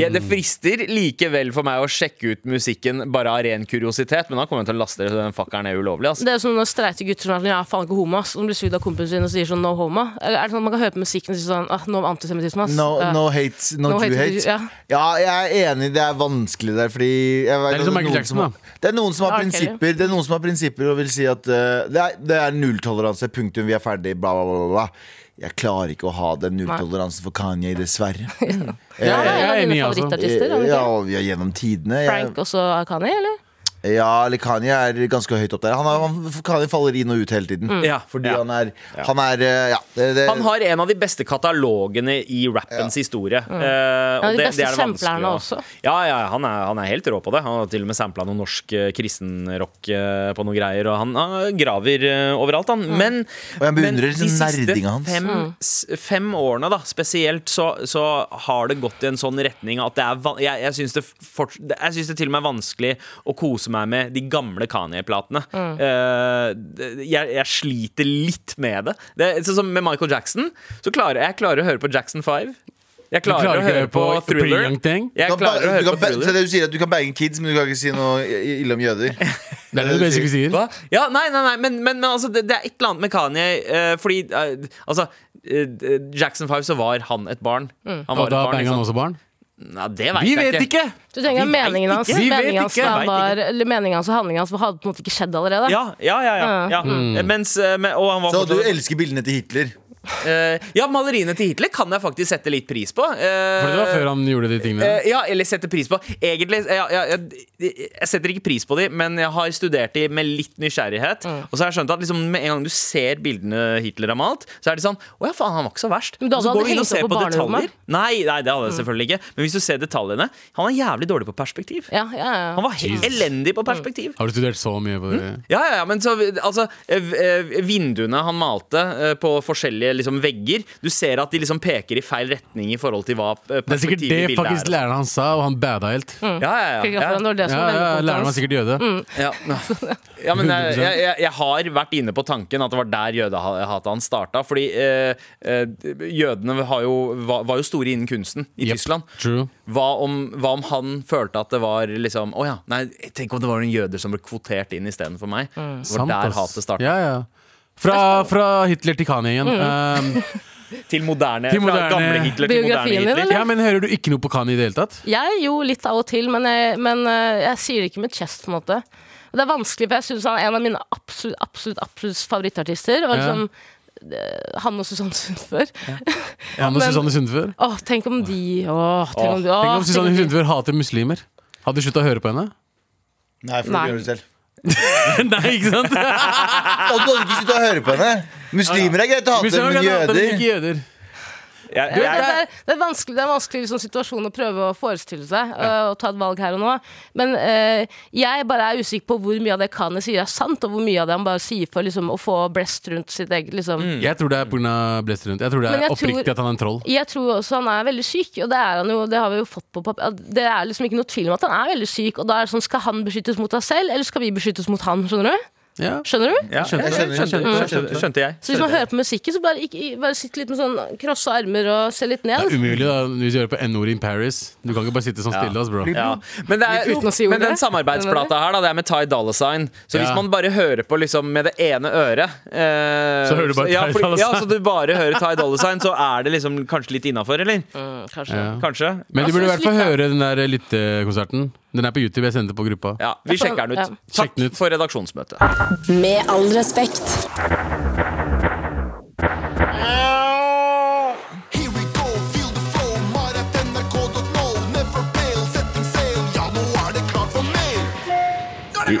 Ja, det frister likevel for meg å sjekke ut musikken bare av ren kuriositet, men da kommer jeg til å laste den fakkeren ned ulovlig. ass.
Det er sånn når streite gutter som er sånn, ja, faen ikke homo, ass, som blir sugd av kompisen sin og sier sånn no homo. Eller er det sånn at man kan høre på musikken og si sånn ah, no antisemittisme, ass.
No,
Ja.
no hate, no,
No
Jew
hate,
hate.
ja.
Ja, jeg er enig, det er vanskelig der, fordi jeg vet
Det er litt
at
som Michael
noen
Jackson,
som har- Det er noen som
R.
har
Kelly.
prinsipper Det er noen som har prinsipper og vil si at eh, det, er, det er nulltoleranse, punktum, vi er ferdig, bla, bla, bla, bla. Jeg klarer ikke å ha den nulltoleransen for Kanye, dessverre. Eh,
Ja, det er en av
Jeg
dine
er enig, altså.
favorittartister. er det ikke?
Ja, og vi er gjennom tidene. Jeg,
Eh,
Frank også Akani, eller?
ja, eller Kanye er ganske høyt opp der. Han, er, han Kanye faller inn og ut hele tiden.
Mm. Ja,
Fordi
ja.
han er Han er eh, Ja. Det, det,
Han har en av de beste katalogene i rappens historie. eh,
Ja,
og
Mm. de
det-
beste
det er det vanskelig
samplerne
å-
også.
Ja, ja han, er, han er helt rå på det. Han har til og med sampla noe norsk eh, kristenrock eh, på noen greier. Og han, han graver eh, overalt, han.
Mm.
Men,
Og jeg beundrer
men de
liksom
siste
nerdinga hans.
fem, s- fem årene, da, spesielt, så, så har det gått i en sånn retning at det er van jeg, jeg, syns det forts- jeg syns det til og med er vanskelig å kose meg med de gamle Kanye-platene. Eh, det- jeg, jeg sliter litt med det. det er sånn som med Michael Jackson. Så klarer jeg klarer å høre på Jackson 5. Jeg
Du
klarer, å høre på, Thriller.
Pretty Young Thing?
Jeg
du kan,
klarer å
ba- du
høre
kan,
på
ba-
Thriller.
så det du sier at du kan bange kids, men du kan ikke si noe i- ille om jøder.
Det er det du basically sier.
Hva? Ja, nei, nei, nei men, men, men altså, det, det er et eller annet med Kanye eh, Fordi, eh, altså eh, Jackson 5, så var han et barn
Mm.
Han var
Og
et
da
barn, liksom?
banga
ikke
han
sant?
også barn?
Nei, det vet
Vi
jeg
vet ikke!
Du tenker
Vi
at
vet
meningen hans,
ikke. Vi vet
meningen hans,
ikke.
da
Vet
var, eller meningen hans og handlingen hans hadde på en måte ikke skjedd allerede.
Ja, ja, ja, ja, ja.
Mm.
Eh, Mens, eh, men, og han var
Så du
fortsatt-
elsker bildene til Hitler.
eh, Ja, maleriene til Hitler kan jeg faktisk sette litt pris på eh,
For det var før han gjorde de tingene.
Eh, ja, eller setter pris på. Egentlig, ja, ja, jeg, jeg setter ikke pris på de, men jeg har studert de med litt nysgjerrighet.
Mm.
Og så har jeg skjønt at liksom, med en gang du ser bildene Hitler har malt, så er det sånn Å ja, faen, han var ikke så verst.
Men da
Og så
hadde
går du
han
inn og
hengt
ser
opp på
på
Mm. barnerommet.
detaljer. Nei, nei, det hadde jeg selvfølgelig ikke. Men hvis du ser detaljene Han er jævlig dårlig på perspektiv.
Ja, ja, ja.
Han var helt elendig
Mm.
på perspektiv.
Har du studert så mye på det?
Ja, ja, ja, men så, altså, eh, eh, vinduene han malte eh, på forskjellige liksom, vegger Du ser at de liksom peker i feil retning i forhold til hva eh,
Det er sikkert
perspektivet
det
i bildet altså.
faktisk
er. liksom.
læreren hans sa, og han bada helt. Ja,
Ja, ja, ja,
Ikke
ja.
akkurat når Mm. det som
ja,
var
ja,
vendepunktet
læreren var
hans.
sikkert jøde.
Mm.
Ja, ja men jeg, jeg, jeg- jeg har vært inne på tanken at det var der jødehatet hans starta. Fordi eh, eh, jødene har jo, var, var jo store innen kunsten i
Yep.
Tyskland.
True.
Hva om, hva om han følte at det var liksom Å ja, nei, tenk om det var noen jøder som ble kvotert inn istedenfor meg.
Mm.
Det var
Sant,
der
ass.
hatet starta.
Ja, ja. Fra, fra Hitler til Kanye
Mm.
igjen. Um,
Til moderne,
Til
fra
moderne-
gamle Hitler til moderne
Biografien din,
Hitler.
eller?
ja, men Hører du ikke noe på Kanye i det hele tatt?
Jeg jo litt av og til, men jeg, men eh, jeg sier det ikke med chest, på en måte. Og Det er vanskelig, for jeg syns han er en av mine absolutt, absolutt, absolutt favorittartister. Og
Ja.
liksom, eh, han og Susanne Sundfør.
Han og
Men-
Susanne Sundfør?
Åh, tenk om de Åh, tenk om de åh,
Tenk om Susanne
tenk om de-
Sundfør hater muslimer. Hadde du slutta å høre på henne?
Nei, for
Nei.
du gjør det selv.
Nei, ikke sant?
Da kan du ikke slutte å høre på henne. Muslimer er greit å hate,
Muslimer
men
kan hate, men
jøder
ikke jøder.
Jeg,
Ja,
jeg,
det, er, det er vanskelig, det er en vanskelig liksom, situasjon å prøve å forestille seg øh, og ta et valg her og nå. Men øh, jeg bare er usikker på hvor mye av det Kanye sier er sant, og hvor mye av det han bare sier for liksom, å få blest rundt sitt eget liksom.
Jeg tror det er pga. blest rundt. Jeg tror det
Men
er
jeg
oppriktig
tror-
at han er en troll.
Jeg tror også han er veldig syk, og det er han jo. Det har vi jo fått på papir. Det er liksom ikke noe tvil om at han er veldig syk. Og da er det sånn, skal han beskyttes mot seg selv, eller skal vi beskyttes mot han? Skjønner du?
Ja.
Skjønner du?
ja, skjønte,
Jeg skjønner, jeg
skjønte,
skjønner.
skjønte, skjønte jeg.
Så hvis man hører på musikken, så bare, ikke, bare sitt litt med sånn krossa armer og se litt
Det er
ned.
umulig da, hvis du hører på N-ord in Paris. Du kan ikke bare sitte sånn stille. ass, bro
Ja. Men, det er,
Uten å si
men
ordet.
den samarbeidsplata her, da, det er med Ty Dolla Sign. Så hvis
Ja.
man bare hører på liksom med det ene øret eh,
Så hører du bare
ja,
Ty
fordi-
Dolla Sign.
Ja, så du bare hører Ty Dolla Sign, så er det liksom kanskje litt innafor, eller?
Mm, kanskje.
Ja.
Kanskje?
Men du burde i hvert
Jeg synes
fall
litt,
høre den der eh, lyttekonserten. Den er på YouTube. Jeg sendte på gruppa.
Ja, Vi
Jeg får-
sjekker den
ja.
ut.
Sjekk den
Takk
ut.
for redaksjonsmøtet.
Med all respekt.
Here we go, feel the flow, maratnrk.no, never fail, setting sail, ja nå er det klart for mail.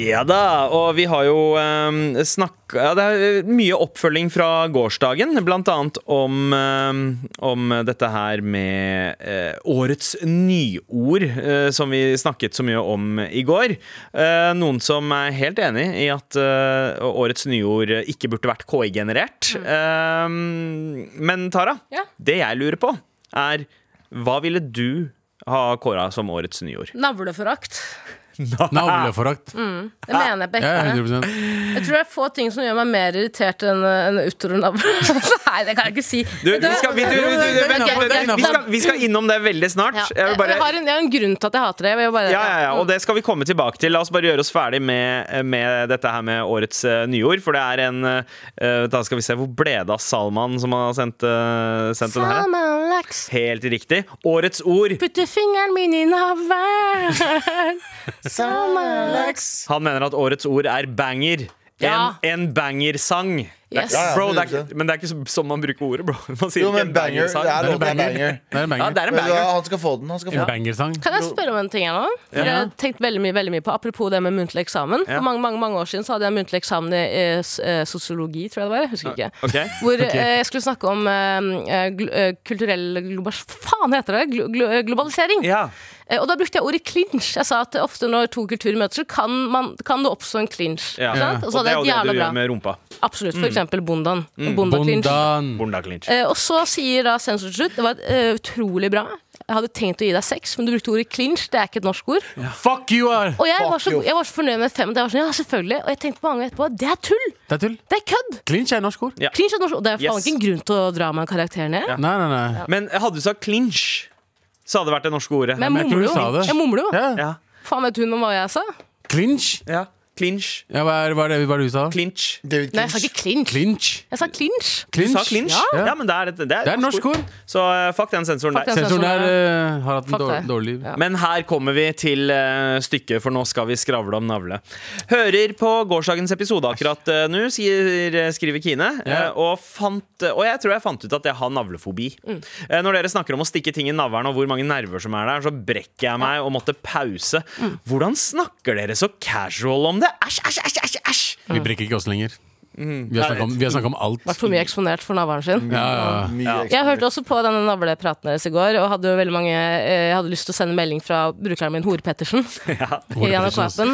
Ja da, og vi har jo um, snakka ja, Det er mye oppfølging fra gårsdagen, blant annet om, ehm, om dette her med eh, årets nyord, eh, som vi snakket så mye om i går. Eh, noen som er helt enig i at eh, årets nyord ikke burde vært KI-generert. Ehm, men Tara,
Ja.
det jeg lurer på, er hva ville du ha kåra som årets nyord?
Navleforakt.
Navleforakt.
Det mener jeg på
Ja,
ekte.
100
Jeg tror det er få ting som gjør meg mer irritert enn en utronavle. Nei, det kan jeg ikke si.
Du, vi, skal, vi, du, du, du, du, vent, vent, vi, skal, vi skal innom det veldig snart.
Ja.
Jeg
Jeg,
vil bare
har en, jeg har en grunn til at jeg hater det. Jeg vil bare,
ja, ja, ja, og det skal vi komme tilbake til. La oss bare gjøre oss ferdig med, med dette her med årets eh, nyord. For det er en eh, Da skal vi se, hvor ble det av Salman som har sendt, eh, sendt den her?
Salman Lax,
Helt riktig. Årets ord.
putte fingeren min i navlen. Salman Lax.
Han mener at årets ord er banger. En,
Ja.
en bangersang. Det er
Yes.
ikke-
Ja, ja,
Bro, det er,
100%.
ikke- men det er ikke så- sånn man bruker ordet, bro. Man sier
Jo,
ikke
men
en
banger.
bangersang.
Det er lov, det er banger.
Det er en
Ja, det
banger.
er en
Men
banger.
Han skal få den. Han skal få
En
den.
bangersang.
Kan jeg spørre om en ting her nå? For Jeg har tenkt veldig mye, veldig mye på Apropos det med muntlig eksamen.
Ja.
For mange, mange, mange år siden så hadde jeg muntlig eksamen i eh, s- eh, sosiologi, tror jeg det var. Jeg husker ikke.
Ok.
Hvor eh, jeg skulle snakke om eh, gl eh, kulturell globas... Faen heter det! Glo glo eh, globalisering.
Ja.
Eh, og da brukte jeg ordet clinch. Jeg sa at ofte når to kulturer møtes, så kan, man, kan det oppstå en clinch.
Ja.
Ikke sant? Og så
Og
hadde
det er jo
jeg et
det du
jævla bra.
gjør med Mm. rumpa.
Absolutt. For eksempel bondan. Bonda-clinch.
Bondan.
Bonda clinch.
Eh, og så sier da sensor til slutt Det var eh, utrolig bra. Jeg hadde tenkt å gi deg sex, men du brukte ordet clinch. Det er ikke et norsk ord.
Fuck you are!
Og jeg var, så,
you.
jeg var så fornøyd med fem. at Jeg var sånn, ja, selvfølgelig Og jeg tenkte på mange etterpå det er tull!
Det er tull.
Det er kødd!
Clinch er norsk ord.
Ja.
Clinch er norsk, og det er faen
Yes.
ikke en grunn til å dra meg en karakter ned.
Nei, nei, nei.
Men hadde du sagt clinch, så hadde det vært det norske ordet.
Men
men
jeg
jeg tror
mumler
du sa
jo.
det.
Jeg mumler jo.
Ja.
ja.
Faen, vet hun om hva jeg sa?
Clinch?
ja. Clinch.
Ja, hva er, hva er det hva er det du sa?
Clinch.
David
Nei, jeg sa
Clinch.
ikke clinch.
Clinch.
Jeg sa clinch.
Du
Clinch.
sa clinch? Ja,
Ja.
men det er, et- det er, et
Det er norsk ord.
Så eh, fuck den sensoren
Fuck
der.
den.
Sensoren der eh, har hatt
Fuck
en dårlig,
deg.
dårlig liv.
Ja.
Men her kommer vi til eh, stykket, for nå skal vi skravle om navle. Hører på gårsdagens episode akkurat eh, nå, sier, eh, skriver Kine. eh, og, fant, eh, og jeg tror jeg fant ut at jeg har navlefobi. Eh, når dere snakker om å stikke ting i navlen og hvor mange nerver som er der, så brekker jeg meg og måtte pause. Hvordan snakker dere så casual om det? Æsj, æsj, æsj! æsj, æsj.
Vi brekker ikke oss lenger.
Mm.
Vi har snakket om, vi har snakket om alt.
Vært for mye eksponert for navlen sin.
Ja, ja.
Mye
Jeg
ekstra.
hørte også på denne navlepraten deres i går, og hadde jo veldig mange eh, Jeg hadde lyst til å sende melding fra brukeren min, Hore Pettersen, i NRK-appen.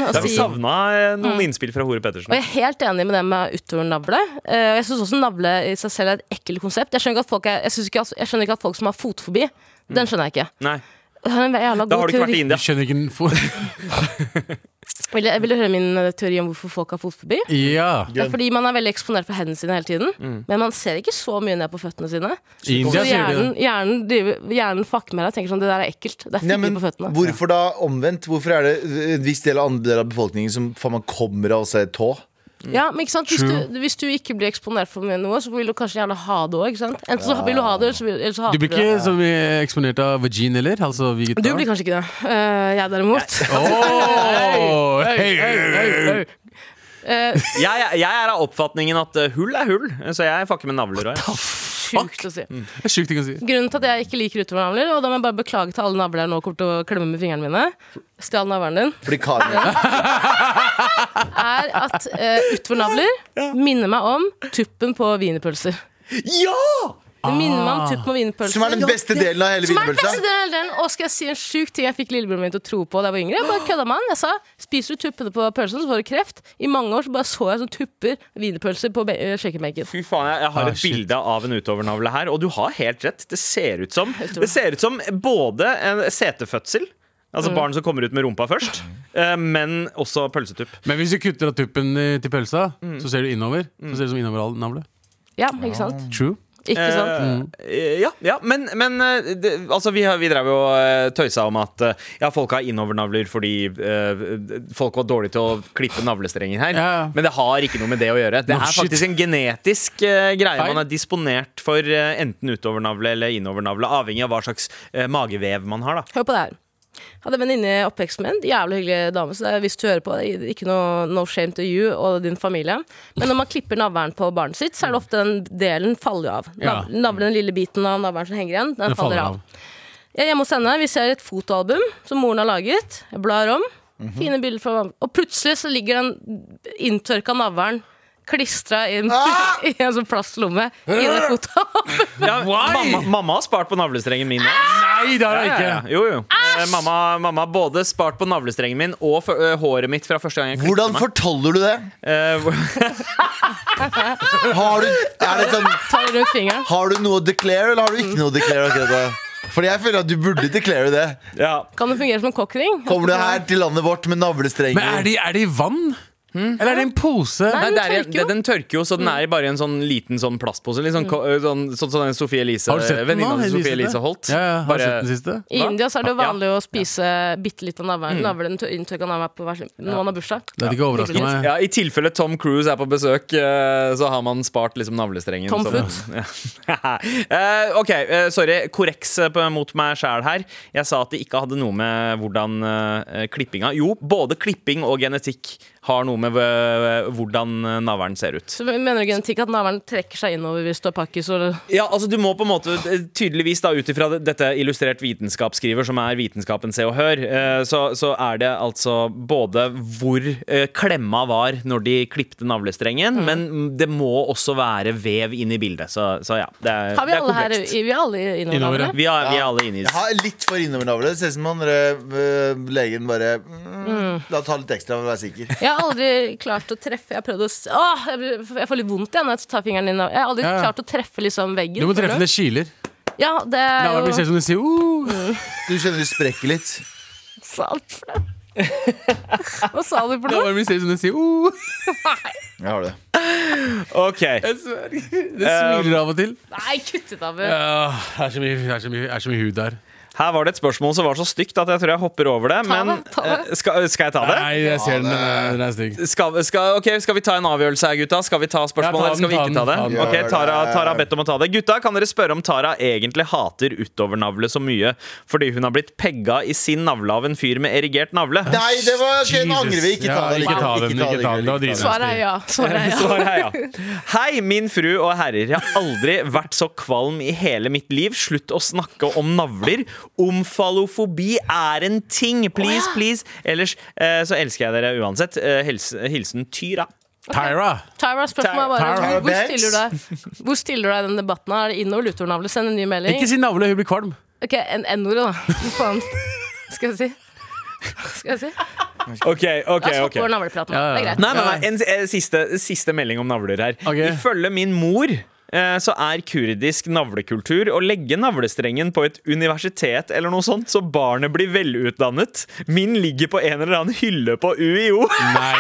Da
og
har vi
si-
savna noen innspill fra Hore Pettersen.
Og jeg er helt enig med det med utornavle. Eh, Jeg syns også navle i seg selv er et ekkelt konsept. Jeg skjønner ikke at folk, er, jeg synes ikke, at- jeg skjønner ikke at folk som har fotfobi Den skjønner jeg ikke.
Nei,
Jeg har en jævla
da har
god
du ikke vært i
teori.
Jeg
India.
skjønner ikke den for...
Vil, jeg, vil du høre min eh, teori om hvorfor folk har fotfobi?
Ja.
Det er fordi man er veldig eksponert for hendene sine hele tiden. Men man ser ikke så mye ned på føttene sine.
I India
Så
sier de
hjernen,
det.
hjernen, driver- hjernen fucker med deg og tenker sånn Det der er ekkelt. Det er
Nei,
fittig
men
på føttene.
hvorfor da omvendt? Hvorfor er det en viss del av andre del av befolkningen som faen meg kommer av seg tå?
Ja, men ikke sant? Hvis, du, hvis du ikke blir eksponert for mye noe, så vil du kanskje gjerne ha det òg. Enten så vil du ha det, eller så, vil, eller så
Du
hater
blir ikke så mye eksponert av vagin, eller? Altså, vi gutta.
Du blir kanskje ikke det. Eh, jeg derimot.
Åh, hei, hei, hei.
Jeg, jeg er av oppfatningen at eh, hull er hull, så jeg fucker med navler òg.
Sjukt å si.
Det er sjukt ting å si.
Grunnen til at jeg ikke liker utovernavler, og da må jeg bare beklage til alle navler jeg nå kommer til å klemme med fingrene mine, stjal navlen din,
Fordi Kanye
er at uh, utovernavler minner meg om tuppen på wienerpølser.
Ja!
Det minner meg om tuppen på wienerpølser.
Som er den beste delen av hele
Som er den beste
wienerpølsa.
delen av den. Og skal jeg si en sjuk ting jeg fikk lillebroren min til å tro på da jeg var yngre? Jeg bare kødda med han. Jeg sa spiser du tuppene på pølsen, så får du kreft. I mange år så bare så jeg sånn tupper wienerpølser på be- eh, kjøkkenbenken.
Fy faen, jeg, jeg har
Ah,
et
shit.
bilde av en utovernavle her, og du har helt rett. Det ser ut som, det ser ut som både en setefødsel Altså barn som kommer ut med rumpa først, eh, men også pølsetupp.
Men hvis du kutter av tuppen eh, til pølsa,
Mm.
så ser du innover. Så ser du som innovernavle.
Ja, ikke sant?
True.
Ikke sant?
Mm.
Eh, ja, ja, men, men eh, det, altså vi, har- vi drev jo og tøysa om at eh, ja, folk har innovernavler fordi eh, folk var dårlige til å klippe navlestrenger her.
Ja, ja.
Men det har ikke noe med det å gjøre. Det
No
er
shit.
faktisk en genetisk eh, greie
Feil.
man er disponert for eh, enten utovernavle eller innovernavle, avhengig av hva slags eh, magevev man har. da
Hør på det her. Hadde en venninne i oppveksten min. Jævlig hyggelig dame. Så det er, hvis du hører på, det er ikke noe no shame to you og din familie. Men når man klipper navlen på barnet sitt, så er det ofte den delen faller jo av.
Ja.
Nav- Navlen, den lille biten av navlen som henger igjen, den,
Den
faller av. Jeg er hjemme hos henne. Vi ser et fotoalbum som moren har laget. Jeg blar om.
Mhm.
Fine bilder fra Og plutselig så ligger den inntørka navlen klistra inn
Ah!
i en sånn plastlomme i det fotoalbumet.
Ja, mamma, mamma har spart på navlestrengen min. også.
Nei, det har jeg
Ja, ja, ja.
ikke!
Jo, jo. Eh, Mamma, mamma har både spart på navlestrengen min og for, eh, håret mitt fra første gang jeg klippet
Hvordan
meg.
fortoller du det?
Eh, hvor-
Har du, sånn, er det sånn,
Tar rundt fingeren.
har du noe å declare, eller har du ikke noe å declare? akkurat da? Fordi jeg føler at du burde declare det.
Ja.
Kan det fungere som en kokkring?
Kommer du her til landet vårt med
Men er
navlestrenger?
de, er de i vann?
Hmm?
Eller er det en pose?
Nei,
Nei,
den
det er, i-
tørker jo. Mm.
det, den tørker jo, så den er bare i en sånn liten sånn plastpose. Litt sånn, ko- sånn, sånn, sånn en Sofie Elise
Har du sett den nå?
Venninna
den
til Sofie
siste?
Elise Holt.
Ja, ja, har
Bare-
du sett den siste?
I
Hva?
India så er det jo
Ja. Mm.
vanlig å spise bitte litt av navlen. Navlen tør- inntørka navlen på hver sin- når man har bursdag.
Det hadde ikke overraska meg.
ja, I tilfelle Tom Cruise er på besøk, eh, så har man spart liksom navlestrengen.
Tom
som-
Foot.
Ja. Eh, ok, eh, sorry. Korreks eh, på- mot meg sjæl her. Jeg sa at det ikke hadde noe med hvordan eh, klippinga Jo, både klipping og genetikk har noe med eh, hvordan eh, navlen ser ut.
Så mener du genetikk at navlen trekker seg innover hvis du har pakkis? Og...
Ja, altså du må på en måte eh, tydeligvis da ut ifra det- dette illustrert vitenskapsskriver, som er Vitenskapen Se og Hør, eh, så, så er det altså både hvor eh, klemma var når de klipte
Mm.
navlestrengen, men det må også være vev inn i bildet. Så, så ja, det er,
Har vi
det er
alle her
komplekst.
i- Vi er alle innover
Innover, ja.
navlen?
Vi er, vi er alle inne i
Jeg
det.
har litt for innovernavle. Det ser ut som han øh, øh, legen bare mm, La ta litt ekstra for å være sikker.
Jeg har aldri klart å treffe Jeg har prøvd å s- Åh, jeg blir- jeg får litt vondt igjen når jeg tar fingeren inn. Jeg har aldri
Ja, ja.
klart å treffe liksom veggen.
Du må
føler
treffe det kiler.
Ja, det er
Navlen blir
jo
ser ut som de sier uh.
Du skjønner du sprekker litt.
salt for det. Hva sa du for noe?
Navlen blir ser ut som de sier uh.
Jeg har det.
Ok,
Jeg sverger. Det
Um,
smiler av og til.
Nei, kutt ut,
eh.
Abu.
Åh, Det er så mye, det er så mye, det er så mye hud der.
Her var det et spørsmål som var så stygt at jeg tror jeg hopper over det.
Ta det,
Men
ta det.
eh, skal, skal jeg ta det?
Nei, jeg ser den, men den er stygg.
Skal, skal, ok, skal vi ta en avgjørelse her, gutta? Skal vi ta spørsmål,
Ja, ta
eller skal vi
den,
ikke ta
ta den,
det?
ta
den.
Ok, Tara, Tara har bedt om å ta det. Gutta, kan dere spørre om Tara egentlig hater utovernavle så mye fordi hun har blitt pegga i sin navle av en fyr med erigert navle?
Nei, det var ok, den angrer vi. Ikke ta
Ja,
det.
ikke ta den, ikke ta den, det var
ikke
dritbra.
ta den.
Svaret er ja. Svaret er ja.
Svar her, ja. Hei, min fru og herrer. Jeg har aldri vært så kvalm i hele mitt liv. Slutt å snakke om navler. Omfalofobi er en ting. Please, please. Ellers eh, så elsker jeg dere uansett. Eh, hils- Hilsen Tyra.
Tyra.
Tyra, spørsmålet er
Tyra
bare hvor, hvor,
Banks?
stiller du deg, hvor stiller du deg i den debatten? her? Er det innover lutornavle? Send en ny melding.
Ikke si navle, hun blir kvalm.
Ok, en N-ordet, da. Hva faen skal jeg si? Skal jeg si?
Ok, ok,
La oss hoppe over navlepraten.
Ja, ja,
Det er
ja.
greit.
Nei, nei, nei. En, eh, siste, siste melding om navler her.
Ok.
Ifølge min mor eh, så er kurdisk navlekultur å legge navlestrengen på et universitet eller noe sånt, så barnet blir velutdannet. Min ligger på en eller annen hylle på UiO.
Nei,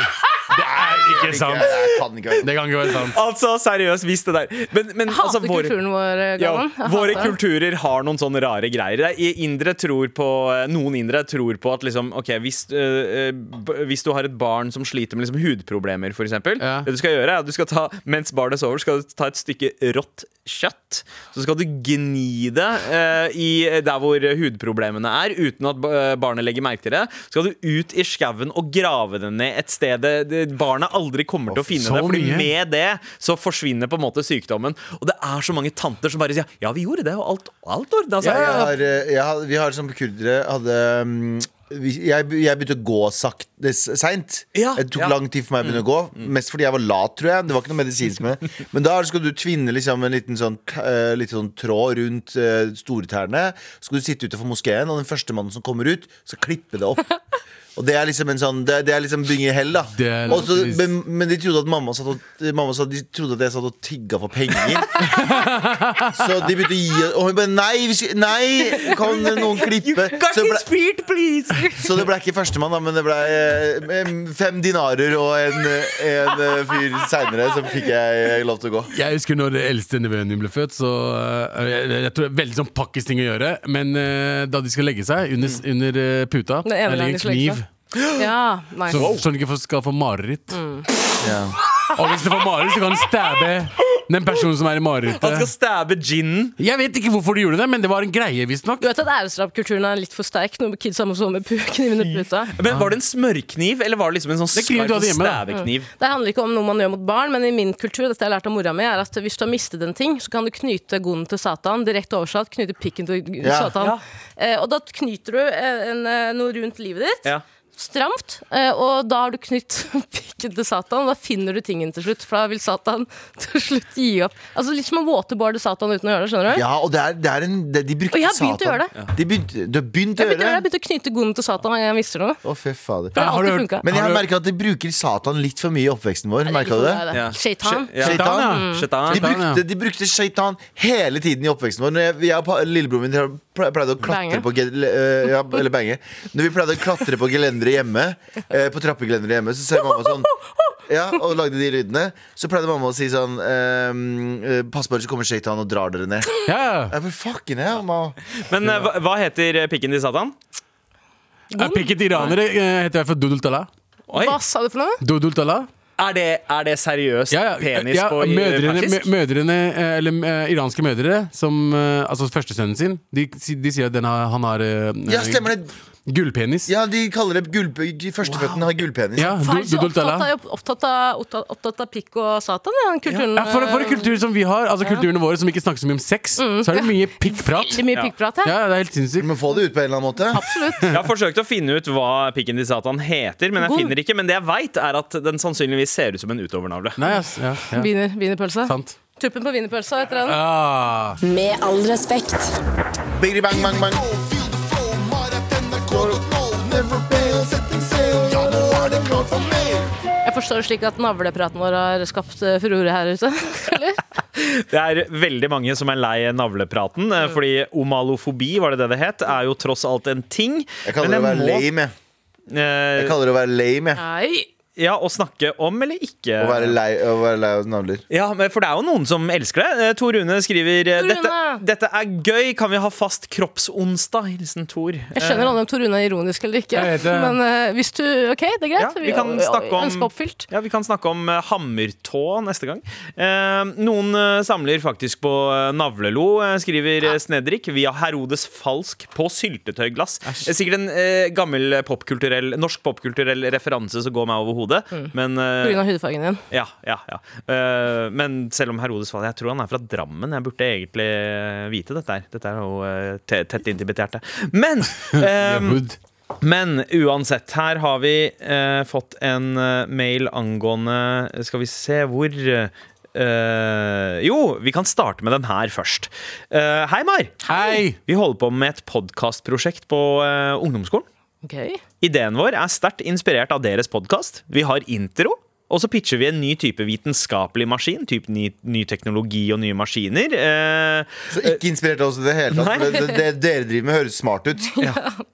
det er ikke sant.
Det kan ikke være
Det kan ikke være sant.
altså, seriøst, hvis det der Men, men
Jeg hater
altså, våre-
kulturen vår, eh, Galvan.
Ja,
Jeg
våre
hater den.
kulturer har noen sånne rare greier. Det er- Indre tror på, eh, noen indre tror på at liksom, ok, hvis, øh, øh, b- hvis du har et barn som sliter med liksom hudproblemer, for eksempel
Ja.
Det du skal gjøre er at du skal ta, Mens barnet sover, skal du ta et stykke rått kjøtt. Så skal du gni det øh, i der hvor hudproblemene er, uten at ba- øh, barnet legger merke til det. Så skal du ut i skauen og grave det ned et sted det- det- barnet aldri kommer til å finne
så
det. Fordi
mye.
med med det så forsvinner på en måte sykdommen. Og det er så mange tanter som bare sier ja, vi gjorde det, og alt, alt ordna seg.
Jeg har, eh, jeg har, vi har som kurdere hadde mm, vi- jeg, be- jeg begynte å gå sakte seint.
Ja,
det tok
ja. Mm.
lang tid for meg å begynne å gå. Mest fordi jeg var lat, tror jeg. Det var ikke noe medisinsk med det. Men da skal du tvinne liksom en liten sånn, t- eh, litt sånn tråd rundt eh, stortærne. Så skal du sitte utenfor moskeen, og den første mannen som kommer ut, skal klippe det opp. Og det er liksom en sånn Det, det er liksom bringe hell, da.
Det er
Og så-
trist.
men, men de trodde at mamma satt og, mamma sa, De trodde at jeg satt og tigga for penger. Så de begynte å gi Og hun bare Nei, vi skal- nei kan noen klippe? Så det, ble,
spirit, please!
så det ble ikke førstemann, da, men det ble eh, em, fem dinarer og en, en eh, fyr seinere, så fikk jeg eh, lov til å gå.
Jeg husker når det eldste nevøen min ble født, så øh, jeg, jeg tror det er veldig sånn pakkis ting å gjøre. Men øh, da de skal legge seg, under, under øh, puta,
Den ene
der
gangen de
ligger en
skal legge
kniv.
seg. Ja, nei.
Så, sånn at du ikke får- skal få mareritt.
Mm.
Ja.
Og hvis du får mareritt, så kan du stabbe den personen som er i
Han skal
marerittet.
stabbe ginen.
Jeg vet ikke hvorfor de gjorde det, men det var en greie, visstnok.
Du vet at æresdrapkulturen er litt for sterk når kidsa må sove med pu- kniven i puta?
Men Var det en smørkniv, eller var det liksom en sånn
Det er kniv du
skarp
hadde hjemme, da.
stævekniv?
Det handler ikke om noe man gjør mot barn, men i min kultur dette jeg har lært av mora mi, er at hvis du har mistet en ting, så kan du knyte gonen til Satan. Direkte oversatt knyte pikken til g-
Ja.
Satan.
Ja.
Eh, og da knyter du eh, en, eh, noe rundt livet ditt.
Ja.
Stramt. Eh, og da har du knytt pikken til Satan, og da finner du tingen til slutt. For da vil Satan til slutt gi opp. Altså Litt som å waterboarde Satan uten å gjøre det. skjønner du?
Ja, og det er, det er en det, De brukte
Og jeg har begynt å gjøre det.
De begynte, du har begynt å
Jeg begynte, å gjøre det.
gjøre
jeg
det?
begynte å knyte gonen til Satan hver gang jeg mister noe.
Å, fy fader.
Det har
har du
alltid
hørt-
funka.
Men jeg har
Har du-
merka at de bruker Satan litt for mye i oppveksten vår. Merka du det?
Ja.
sånn eh, Shaitan.
Ja.
Shaitan,
ja.
Mm. Shaitan.
De
Shaitan, ja.
brukte, de brukte shaitan hele tiden i oppveksten vår. Når jeg, jeg og pa- lillebroren min har ple- pleide å klatre
Bange.
på gel- eh, ja, Eller bange. Når vi pleide å klatre på gelenderet hjemme, eh, På trappegelenderet hjemme, så ser mamma sånn Ja, og lagde de lydene. Så pleide mamma å si sånn ehm, eh, Pass bare så kommer Shaitan og drar dere ned.
Ja, ja.
Jeg bare, fucking hell, mamma.
Men eh, hva, hva heter eh, pikken til Satan?
Jeg pikket iranere, eh, heter jeg for Dudultala.
Oi,
Hva sa du for noe?
Dudultala?
Er det, er det seriøst
Ja, ja.
penis
ja,
på i-
mødrene,
persisk?
mø- mødrene, eh, eller eh, iranske mødre, som eh, Altså førstesønnen sin, de, si- de sier at den har, han har eh,
Ja, stemmer det.
gullpenis.
Ja, de kaller det gull... de Førsteføttene har gullpenis.
Ja,
Faen, jeg er så
Dudultala.
opptatt av, opptatt av, opptatt- opptatt av pikk og satan, ja, den kulturen.
Ja, for, for en
eh,
kultur som vi har, altså kulturene våre som ikke snakker så mye om sex, så er det mye pikkprat.
Mm. eh, Veldig mye
Ja.
pikkprat her.
Ja, det er helt
Vi
sinnssykt.
må få det ut på en eller annen måte.
Absolutt.
Jeg har forsøkt å finne ut hva pikken til Satan heter, men jeg
God.
finner ikke. Men det jeg veit, er at den sannsynligvis ser ut som en utovernavle.
Nei, ass. Ja, ja.
Wiener- Wienerpølse.
Sant.
Tuppen på wienerpølsa heter den.
Ah.
Med all respekt.
Biggie bang bang bang.
Jeg forstår det slik at navlepraten vår har skapt eh, furore her ute. Eller?
Det er veldig mange som er lei navlepraten,
Mm.
eh, fordi omalofobi, var det det det het, er jo tross alt en ting.
Jeg kaller det å være lame, jeg. Jeg kaller det å være lame, jeg.
Nei.
eh, Ja, å snakke om eller ikke.
Å være lei, å være lei av navler.
Ja, men For det er jo noen som elsker det. Eh, Tor Rune skriver eh,
Tor
dette,
Rune!
dette er gøy, kan vi ha fast kroppsonsdag? Hilsen Tor.
Jeg skjønner aldri om Torune er ironisk eller ikke.
Jeg vet det.
Men eh, hvis du OK, det er greit.
Ja, vi kan
ø- ø-
snakke om-
ønsker oppfylt.
Ja, Vi kan snakke om eh, hammertå neste gang. Eh, noen eh, samler faktisk på eh, navlelo, eh, skriver eh, Snedrik, via Herodes Falsk på syltetøyglass. Det er Sikkert en eh, gammel popkulturell, norsk popkulturell referanse som går meg over hodet. Men, eh,
Pga. hudfargen din.
ja, ja, ja. Eh, men selv om Herodes Falsk Jeg tror han er fra Drammen. Jeg burde egentlig eh, vite dette her. Dette er jo eh, te- tett inntil mitt hjerte. Men eh,
Wood.
Men uansett, her har vi eh, fått en eh, mail angående Skal vi se hvor eh, Jo, vi kan starte med den her først. Eh, hei, Mar.
Hei!
Vi holder på med et podkastprosjekt på eh, ungdomsskolen.
OK.
Ideen vår er sterkt inspirert av deres podkast. Vi har intro, og så pitcher vi en ny type vitenskapelig maskin. Typ ny, ny teknologi og nye maskiner. Eh,
Så ikke inspirert av oss i det hele tatt.
Nei.
for Det, det, det dere driver med, høres smart ut.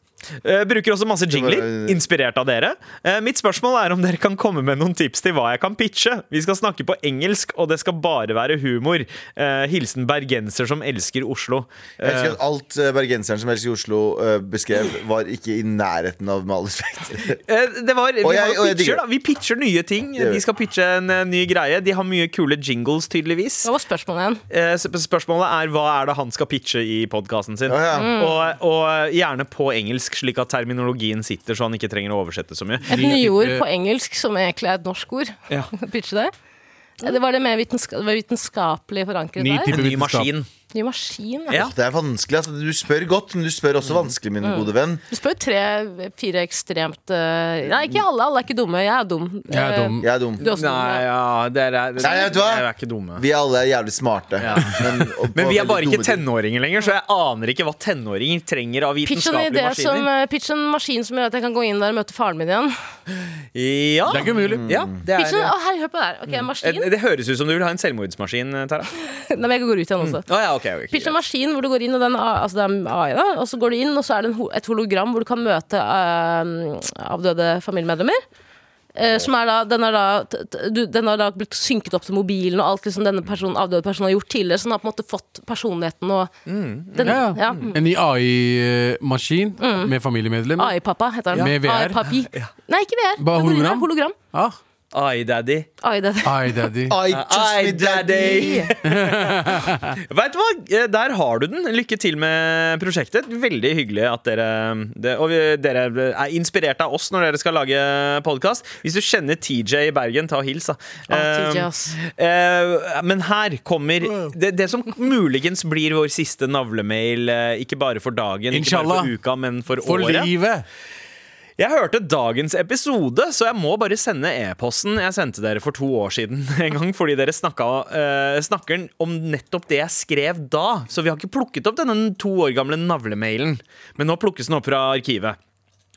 Eh, Bruker også masse jingler,
Det var-
inspirert av dere. Eh, Mitt spørsmål er om dere kan komme med noen tips til hva jeg kan pitche. Vi skal snakke på engelsk, og det skal bare være humor. Eh, Hilsen bergenser som elsker Oslo.
Jeg
Eh,
elsker at Alt eh, bergenseren som helst i Oslo eh, beskrev, var ikke i nærheten av med all respekt.
eh, Det var, vi,
Og jeg-
har
og
jo
jeg
pitcher,
digger
da. vi pitcher nye ting.
gjør vi.
De skal pitche en eh, ny greie. De har mye kule jingles, tydeligvis.
Hva var spørsmålet igjen?
Eh, sp- Spørsmålet er hva er det han skal pitche i podkasten sin.
Ja, ja.
Og, og gjerne på engelsk, slik at terminologien sitter, så han ikke trenger å oversette så mye.
Et nyord på engelsk som egentlig er et norsk ord.
Ja.
Pitche det. Eh, Det var det mer vitenska det var vitenskapelig forankret
Ny
der.
type-
En ny maskin.
Ny maskin.
Ja.
Ja.
Det er vanskelig, altså. Du spør godt, men du spør også vanskelig, min gode venn.
Du spør tre-fire ekstremt eh, Nei, ikke alle. Alle er ikke dumme. Jeg er dum.
Jeg er
Eh,
dum.
Jeg er dum.
Du er også dum.
Nei, ja, dere er,
Nei, vet du hva?
dere er ikke dumme.
Vi alle er jævlig smarte. Men, og på
Men vi er bare ikke
veldig dumme ting.
tenåringer lenger, så jeg aner ikke hva tenåringer trenger av
Pitch en idé
vitenskapelige
som
maskiner.
eh, Pitch en maskin som gjør at jeg kan gå inn der og møte faren min igjen.
Ja,
Det er ikke umulig.
ja det, Mm.
Pitch en,
er, Eh,
å, her, hør på det her. Ok, en maskin.
det, det høres ut som du vil ha en selvmordsmaskin, Tara.
Nei, men jeg går ut igjen også.
Å ja, ok, ok,
Pitch en
greit.
maskin hvor du går inn, og den, A- altså det er AI, da, og så går du inn, og så er det en, ho- et hologram hvor du kan møte eh, avdøde familiemedlemmer. Eh, som er da, den, er da, t- t- du, den har da blitt synket opp til mobilen og alt liksom denne personen, avdøde personen har gjort tidligere. Så den har på en måte fått personligheten og den, ja.
Mm, Ja. Mm. En ny AI-maskin med familiemedlemmer.
AI-pappa heter den.
Med VR.
AI-papi. Nei, ikke VR.
Bare
Den går inn der,
hologram?
hologram.
Ah.
Ai, daddy.
AI, det.
Ai, daddy.
I trust
Ai,
me, daddy.
Vet du hva? Eh, Der har du den. Lykke til med prosjektet. Veldig hyggelig at dere det, Og vi, dere er inspirert av oss når dere skal lage podkast. Hvis du kjenner TJ i Bergen, ta og hils, da.
Ah, TJ,
Eh,
ass.
eh, men her kommer det, det som muligens blir vår siste navlemail, eh, ikke bare for dagen, ikke bare
Inshallah.
for uka, men for,
For
året.
livet!
Jeg hørte dagens episode, så jeg må bare sende e-posten jeg sendte dere for to år siden. En gang fordi dere snakka, eh, snakker om nettopp det jeg skrev da. Så vi har ikke plukket opp denne to år gamle navlemailen. Men nå plukkes den opp fra arkivet.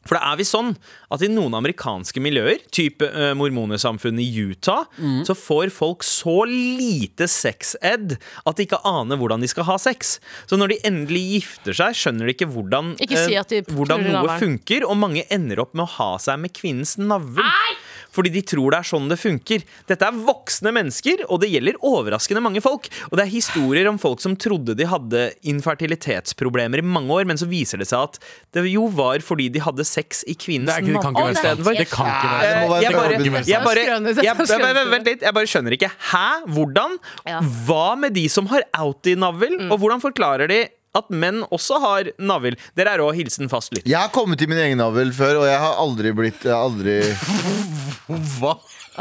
For det er visst sånn at i noen amerikanske miljøer, type eh, mormonersamfunnet i Utah, så får folk så lite sex-ed at de ikke aner hvordan de skal ha sex. Så når de endelig gifter seg, skjønner de ikke hvordan,
Ikke si
eh,
at de
hvordan
knuller
noe
navlen.
funker, og mange ender opp med å ha seg med kvinnens navl. Fordi de tror det er sånn det funker. Dette er voksne mennesker, og det gjelder overraskende mange folk. Og det er historier om folk som trodde de hadde infertilitetsproblemer i mange år, men så viser det seg at det jo var fordi de hadde sex i kvinnens
Det, er ikke, det kan ikke
navl
være sant.
istedenfor.
Det kan ikke være
Det
Eh,
må være
Jeg
et
bare, jeg
øyeblikk.
bare, jeg bare,
Skrøne, det er
vent-
skrøne.
vent- vent litt, jeg bare skjønner ikke. Hæ? Hvordan?
Ja.
Hva med de som har outie-navl? Og hvordan forklarer de at menn også har navl? Dere er òg hilsen fast lytter.
Jeg har kommet i min egen navl før, og jeg har aldri blitt jeg har aldri...
Hva?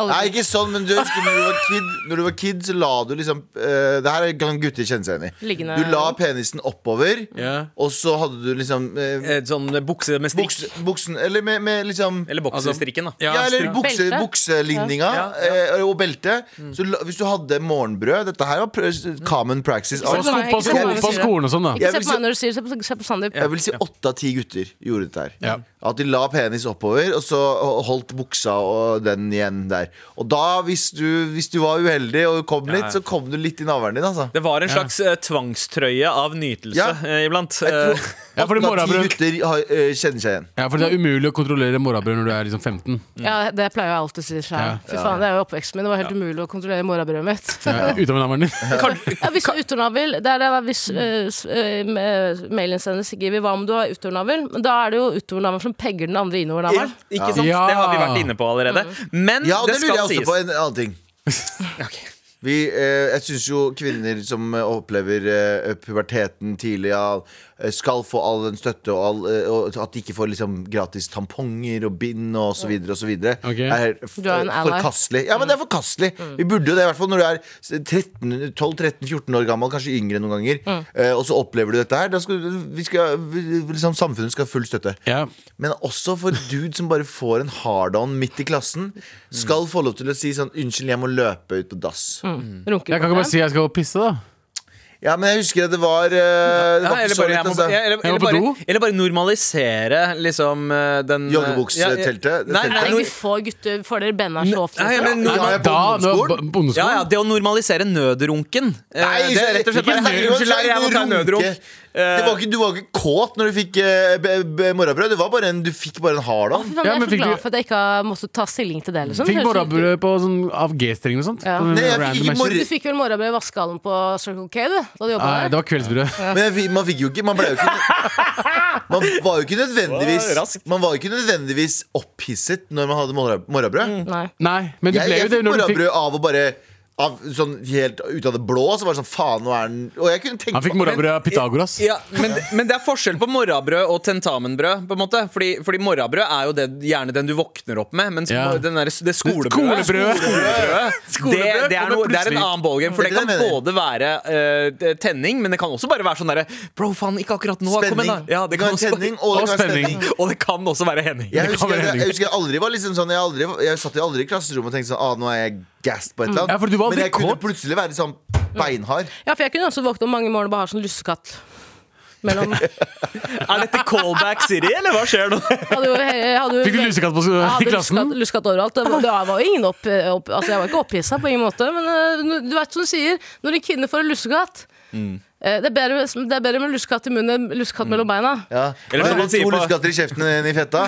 Nei, ikke sånn, men du husker når du var kid, når du var kid så la du liksom eh, Det her kan gutter kjenne seg igjen i.
Liggende-
Du la penisen oppover,
Ja.
og så hadde du liksom eh,
Sånn bukse med
buks, Buksen Eller med, med liksom
Eller
Altså,
boksestrikken, da.
Ja, eller
strikk.
bukse,
Belte.
bukselinninga eh, og belte. Så la, hvis du hadde morgenbrød Dette her var pr-
Mm.
common praxis.
På,
Sånn
sko på, sko sånn på skolen og sånn, da.
Ikke
Jeg
se
vil
på meg når du sier det, se på- se på Sandeep.
Jeg vil si åtte av ti gutter gjorde dette her.
Ja.
At de la penis oppover, og så holdt buksa og den igjen der. Og da, hvis du, hvis du var uheldig og kom litt, så kom du litt i navlen din, altså.
Det var en slags eh, tvangstrøye av nytelse
Ja.
eh, iblant.
Jeg tror
Eh,
Ja, fordi
åtte av ti
morgenbrød-
gutter har, eh, kjenner seg igjen.
Ja, for det er umulig å kontrollere morrabrød når du er liksom 15.
Ja, det pleier jeg alltid å si
Ja.
sjøl. Fy faen, det er jo oppveksten min. Det var helt umulig å kontrollere morrabrødet mitt.
Ja, Utover navlen din.
Ja, hvis du er utornavl Det er det da hvis
Mm.
eh, s- eh, ma- mailinnsender skriver hva om du har utornavl, men da er det jo utornavlen som pegger den andre
Ja,
innovernavlen.
ikke sant?
Ja.
Det har vi vært inne på allerede. Men
Ja,
det,
det lurer jeg
skal
også
sies.
på en annen ting. Vi, eh, jeg syns jo kvinner som eh, opplever eh, puberteten tidlig, ja, eh, skal få all den støtte, og, all, eh, og at de ikke får liksom, gratis tamponger og bind og så videre og så videre.
Ok.
Er
Du er en ally.
forkastelig. Ja, men det er forkastelig. Vi burde jo det, i hvert fall når du er 13, 12-13-14 år gammel, kanskje yngre noen ganger, eh, og så opplever du dette her. Da skal, vi skal, vi, liksom, samfunnet skal ha full støtte.
Ja.
Men også for dude som bare får en hard-on midt i klassen, skal få lov til å si sånn 'Unnskyld, jeg må løpe ut på dass'.
Mm.
Jeg kan ikke bare si jeg skal pisse, da.
Ja, men jeg husker at det var eh, Det
Ja,
var
eller,
ikke så
bare,
lett,
jeg må,
altså.
ja, eller,
Jeg må
eller,
på
bare,
do.
eller bare normalisere liksom eh, den eh,
Joggebukseteltet?
ja, ja. Nei, nei,
Nei,
nor-
vi får gutter, får dere benda så ofte. Sånn,
Nei, men-
Ja, jeg er på
Da, nå,
ungdomsskolen.
bo- bondeskolen.
ja, ja, det å normalisere nødrunken. Eh,
Nei,
det er rett og slett
ikke
bare
nødrunk,
Unnskyld, jeg, jeg må ta en
nødrunk.
nødrunk. Eh.
Det var ikke, du var ikke kåt når du fikk eh, be- be- morrabrød. Det var bare en, du fikk bare en hard-on.
Fy faen,
Ja,
jeg
men
er så
fikk
glad
du- Mm.
for at jeg ikke har måttet ta stilling til det. Liksom.
Fikk
Høres ut-
morrabrød på sånn, av G-stringen og sånt.
Ja.
Sånn
Nei, jeg fikk
random
ikke
action.
morra-
Du fikk vel morrabrød i vaskehallen på Circle K, du? Da du
Nei,
jobbet
det
der?
var kveldsbrød.
Men jeg, fikk- man fikk jo ikke Man ble jo ikke Man var jo ikke
Det var
nødvendigvis
raskt.
Man var jo ikke nødvendigvis opphisset når man hadde morra-
Mm.
morrabrød.
Nei.
Nei, men du
Jeg,
ble
jeg
jo det
fikk
når du fikk
morrabrød av å bare av, sånn helt ut av det blå. Så var det sånn, faen, nå er den Og jeg kunne tenke
Han fikk morrabrød av Pythagoras.
Ja, men, men det er forskjell på morrabrød og tentamenbrød. På en måte Fordi, fordi morrabrød er jo det, gjerne den du våkner opp med. Mens
Ja.
den der, det skolebrødet
Skolebrød!
det, det, er
kommer
noe, det er en
plutselig.
annen ballgame. For
Det
det
er
kan
det jeg mener.
både være eh, tenning, men det kan også bare være sånn derre Bro, faen, ikke akkurat nå. Kom igjen,
spenning.
da. Ja, det kan
var
også,
tenning, og det
og
kan være
spenning.
spenning.
og det kan også være Henning.
Jeg
Det kan
husker,
være
jeg,
Henning.
jeg husker jeg aldri var liksom sånn Jeg, aldri, jeg satt jo aldri i klasserommet og tenkte sånn ah, Nå er jeg gassed på et eller annet
Mm. Ja, for du var
Men jeg
aldri
kunne
kåt.
plutselig være sånn beinhard
Ja, for jeg kunne også våkne opp mange morgener og bare ha sånn lussekatt. Mellom Jeg
Er dette Callback City, eller hva skjer nå?
hadde jo, jeg hadde jo
Fikk du lussekatt på
Jeg
i
hadde
klassen?
lussekatt- lussekatt overalt. Det var, det var jo ingen opp, opp, altså jeg var ikke opphisset på ingen måte, men eh, du vet som du sier, når en kvinne får en lussekatt
Mm.
eh, det, er bedre, det er bedre med lussekatt i munnen enn lussekatt mellom beina.
ja.
Eller
Og
som
jeg
man sier
hadde To
på-
luskatter i kjeften enn i fetta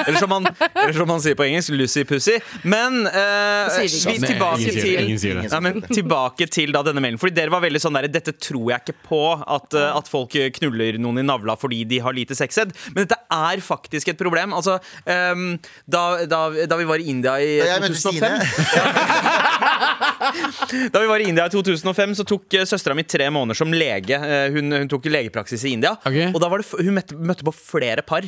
Eller som han, eller som han sier på engelsk, Lucy Pussy. Men eh,
Det sier vi
vi
ikke.
Nei,
tilbake
ingen sier det,
til
ingen sier det.
Nei, men tilbake til da denne mailen. Fordi dere var veldig sånn der, Dette tror jeg ikke på, at, eh, at folk knuller noen i navla fordi de har lite sexed. Men dette er faktisk et problem. Altså, ehm, da, da, da vi var i India i
Da jeg møtte
2005 Da vi var i India i 2005, så tok eh, søstera mi tre måneder som lege. Eh, Hun, hun tok legepraksis i India.
Ok.
Og da var det, f- hun møtte, møtte på flere par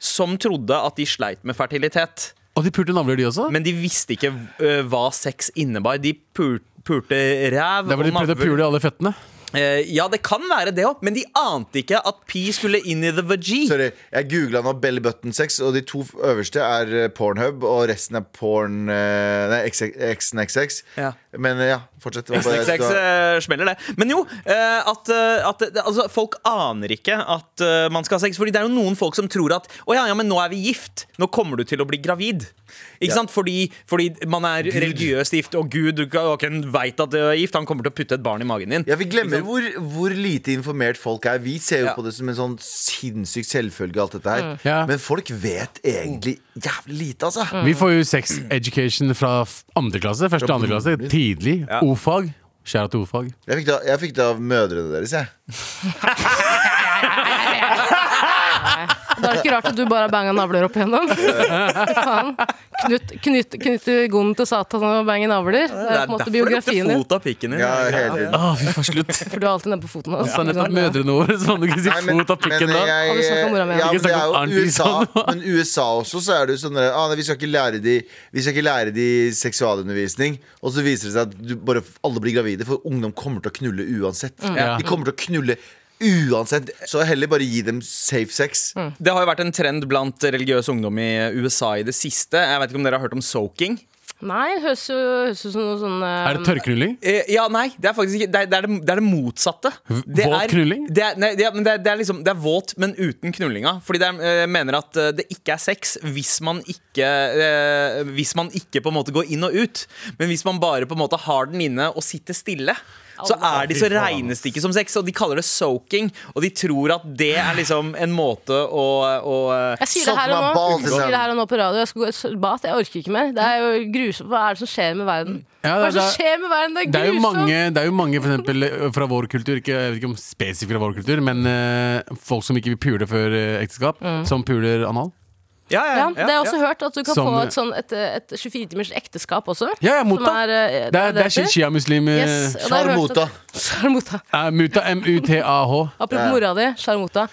som trodde at de sleit med fertilitet.
Og de pulte navler, de også?
Men de visste ikke eh, hva sex innebar. De pul pulte ræv
Det er hvor de prøvde å pule alle føttene.
Eh, ja, det kan være det òg, men de ante ikke at pi skulle inn i the veggie.
Sorry, jeg googlet nå belly button sex Og de to øverste er eh, Pornhub Og resten er porn eh, Nei, XXXX
Ja.
Men eh, ja, fortsett. Det var bare-
Snex X eh, smeller det. Men jo, eh, at, eh, at det- altså, folk aner ikke at eh, man skal ha sex. Fordi det er jo noen folk som tror at Å ja, ja, men nå er vi gift. Nå kommer du til å bli gravid. Ikke sant? Fordi, fordi man er religiøst gift, og Gud du, kan- hvem vet at du er gift. Han kommer til å putte et barn i magen din.
Ja, Vi glemmer hvor, hvor lite informert folk er. Vi ser jo
Ja.
på det som en sånn sinnssyk selvfølge, alt dette her.
Ja.
Men folk vet egentlig jævlig lite, altså.
Mm.
Vi får jo sex education fra f- andre klasse, første og andre klasse, tidlig. O-fag. Kjære til O-fag.
Jeg fikk det, jeg fikk det av mødrene deres, jeg.
Da er det ikke rart at du bare har banga navler opp igjennom. Fy Faen. Knut, knut, knytte gonen til Satan og bange navler. Det er på en måte biografien din.
fot av pikken din.
Ja, hele tiden.
Å, fy faen, slutt.
For du er alltid nede på foten altså. hans.
Sa nettopp mødrene våre, så kan du ikke si
Nei, men-
fot av pikken
men
da.
jeg-
Har du snakket om mora mi?
Ja,
Ikke
men det
snakket om
er jo
Arnt
USA,
Risan.
men USA også, så er det jo sånn der, ah, nei, vi, skal ikke lære de, vi skal ikke lære de seksualundervisning. Og så viser det seg at du, bare alle blir gravide, for ungdom kommer til å knulle uansett.
Ja.
De kommer til å knulle uansett. Så heller bare gi dem safe sex.
Det har jo vært en trend blant religiøs ungdom i USA i det siste. Jeg vet ikke om dere har hørt om soaking?
Nei, det høres jo høres ut som noe sånn eh,
Er det tørrknulling?
Eh, ja, nei, det er faktisk ikke Det er det, er det, det, er det motsatte. Det
våt
er-
knulling?
Det er, nei, det, er- men det, er- det er liksom Det er våt, men uten knullinga. Fordi det er, eh, mener at eh, det ikke er sex hvis man ikke eh, Hvis man ikke på en måte går inn og ut. Men hvis man bare på en måte har den inne og sitter stille. Så er de så regnes det ikke som sex, og de kaller det soaking. Og de tror at det er liksom en måte å, å eh,
Jeg sier det her og
Sodden av
nå.
balls,
Jeg sier det her og nå på radio. Jeg skal gå i s- bad. Jeg orker ikke mer. Det er jo grusomt. Hva er det som skjer med verden?
Ja,
Hva er det
det
som
er-
skjer med verden? Det er
Det er jo
grusomt.
mange, det er jo mange for eksempel, eh, fra vår kultur, ikke, jeg vet ikke om spesifikt fra vår kultur, men eh, folk som ikke vil pule før eh, ekteskap,
Mm.
som puler anal.
Ja, ja,
Ja,
ja,
det har jeg også
ja.
hørt at du kan
Som- eh,
få et, sånn, et, et 24-timers ekteskap også.
Ja, ja,
Som
Muta.
er, eh,
Det er, det er
heter.
shia-muslim. eh,
Yes, og da har jeg hørt
Sharmota.
at- Sharmota.
eh, Muta, M-U-T-A-H.
Apropos mora di, Sharmota.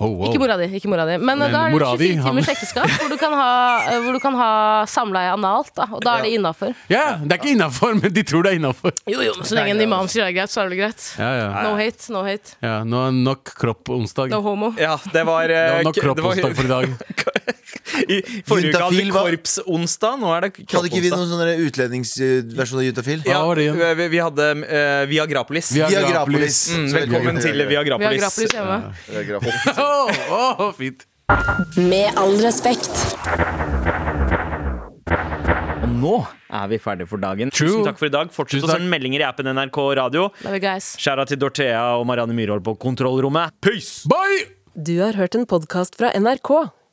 Ho, ho.
Ikke mora di, ikke mora di. Men, eh,
Men
da er det
mora di,
24 timers ekteskap hvor du kan ha, eh, hvor du kan ha samleie analt. Da, og da er det innafor.
Ja, det er ikke innafor, men de tror det er innafor.
Jo, jo, men så lenge en imam sier det er greit, så er det greit.
Ja, ja.
No hate, no hate.
ja, nå er nok kropp på onsdag.
No homo.
Ja, det var,
Det
eh,
var nok
k-
kropp
det var-
onsdag for i dag.
I forrige uke hadde vi
Juntafil, hva?
korpsonsdag, nå er det
Hadde ikke vi
kropponsdag.
noen sånne utlendingsversjon av Jutafil?
Ja,
Hva var det igjen?
vi, vi hadde eh, Viagrapolis.
Vi har-
Viagrapolis.
Mm,
Så
velkommen
veldig-
til
Vi har
Viagrapolis.
grapplys hjemme.
Viagrapolis.
Åh, åh, fint.
Med all respekt.
Og nå er vi ferdige for dagen.
True.
Tusen takk for i dag. Fortsett
Tusen
å
takk.
sende meldinger i appen NRK Radio.
Love you guys.
Skjæra til Dorthea og Marianne Myrhold på kontrollrommet. Peace!
Bye!
Du har hørt en podkast fra NRK.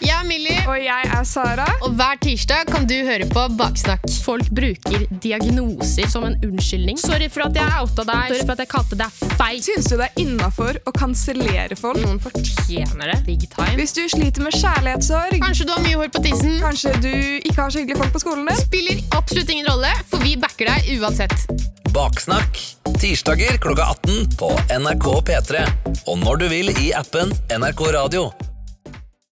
Jeg er Millie. Og jeg er Sara. Og hver tirsdag kan du høre på Baksnakk. Folk bruker diagnoser som en unnskyldning. Sorry for at jeg outa deg. Sorry for at jeg kalte deg feit.
Syns du det er innafor å kansellere folk?
Noen fortjener det. Big time.
Hvis du sliter med kjærlighetssorg?
Kanskje du har mye hår på tissen.
Kanskje du ikke har så hyggelige folk på skolen din?
Spiller absolutt ingen rolle, for vi backer deg uansett.
Baksnakk. Tirsdager klokka 18 på NRK P3. Og når du vil i appen NRK Radio.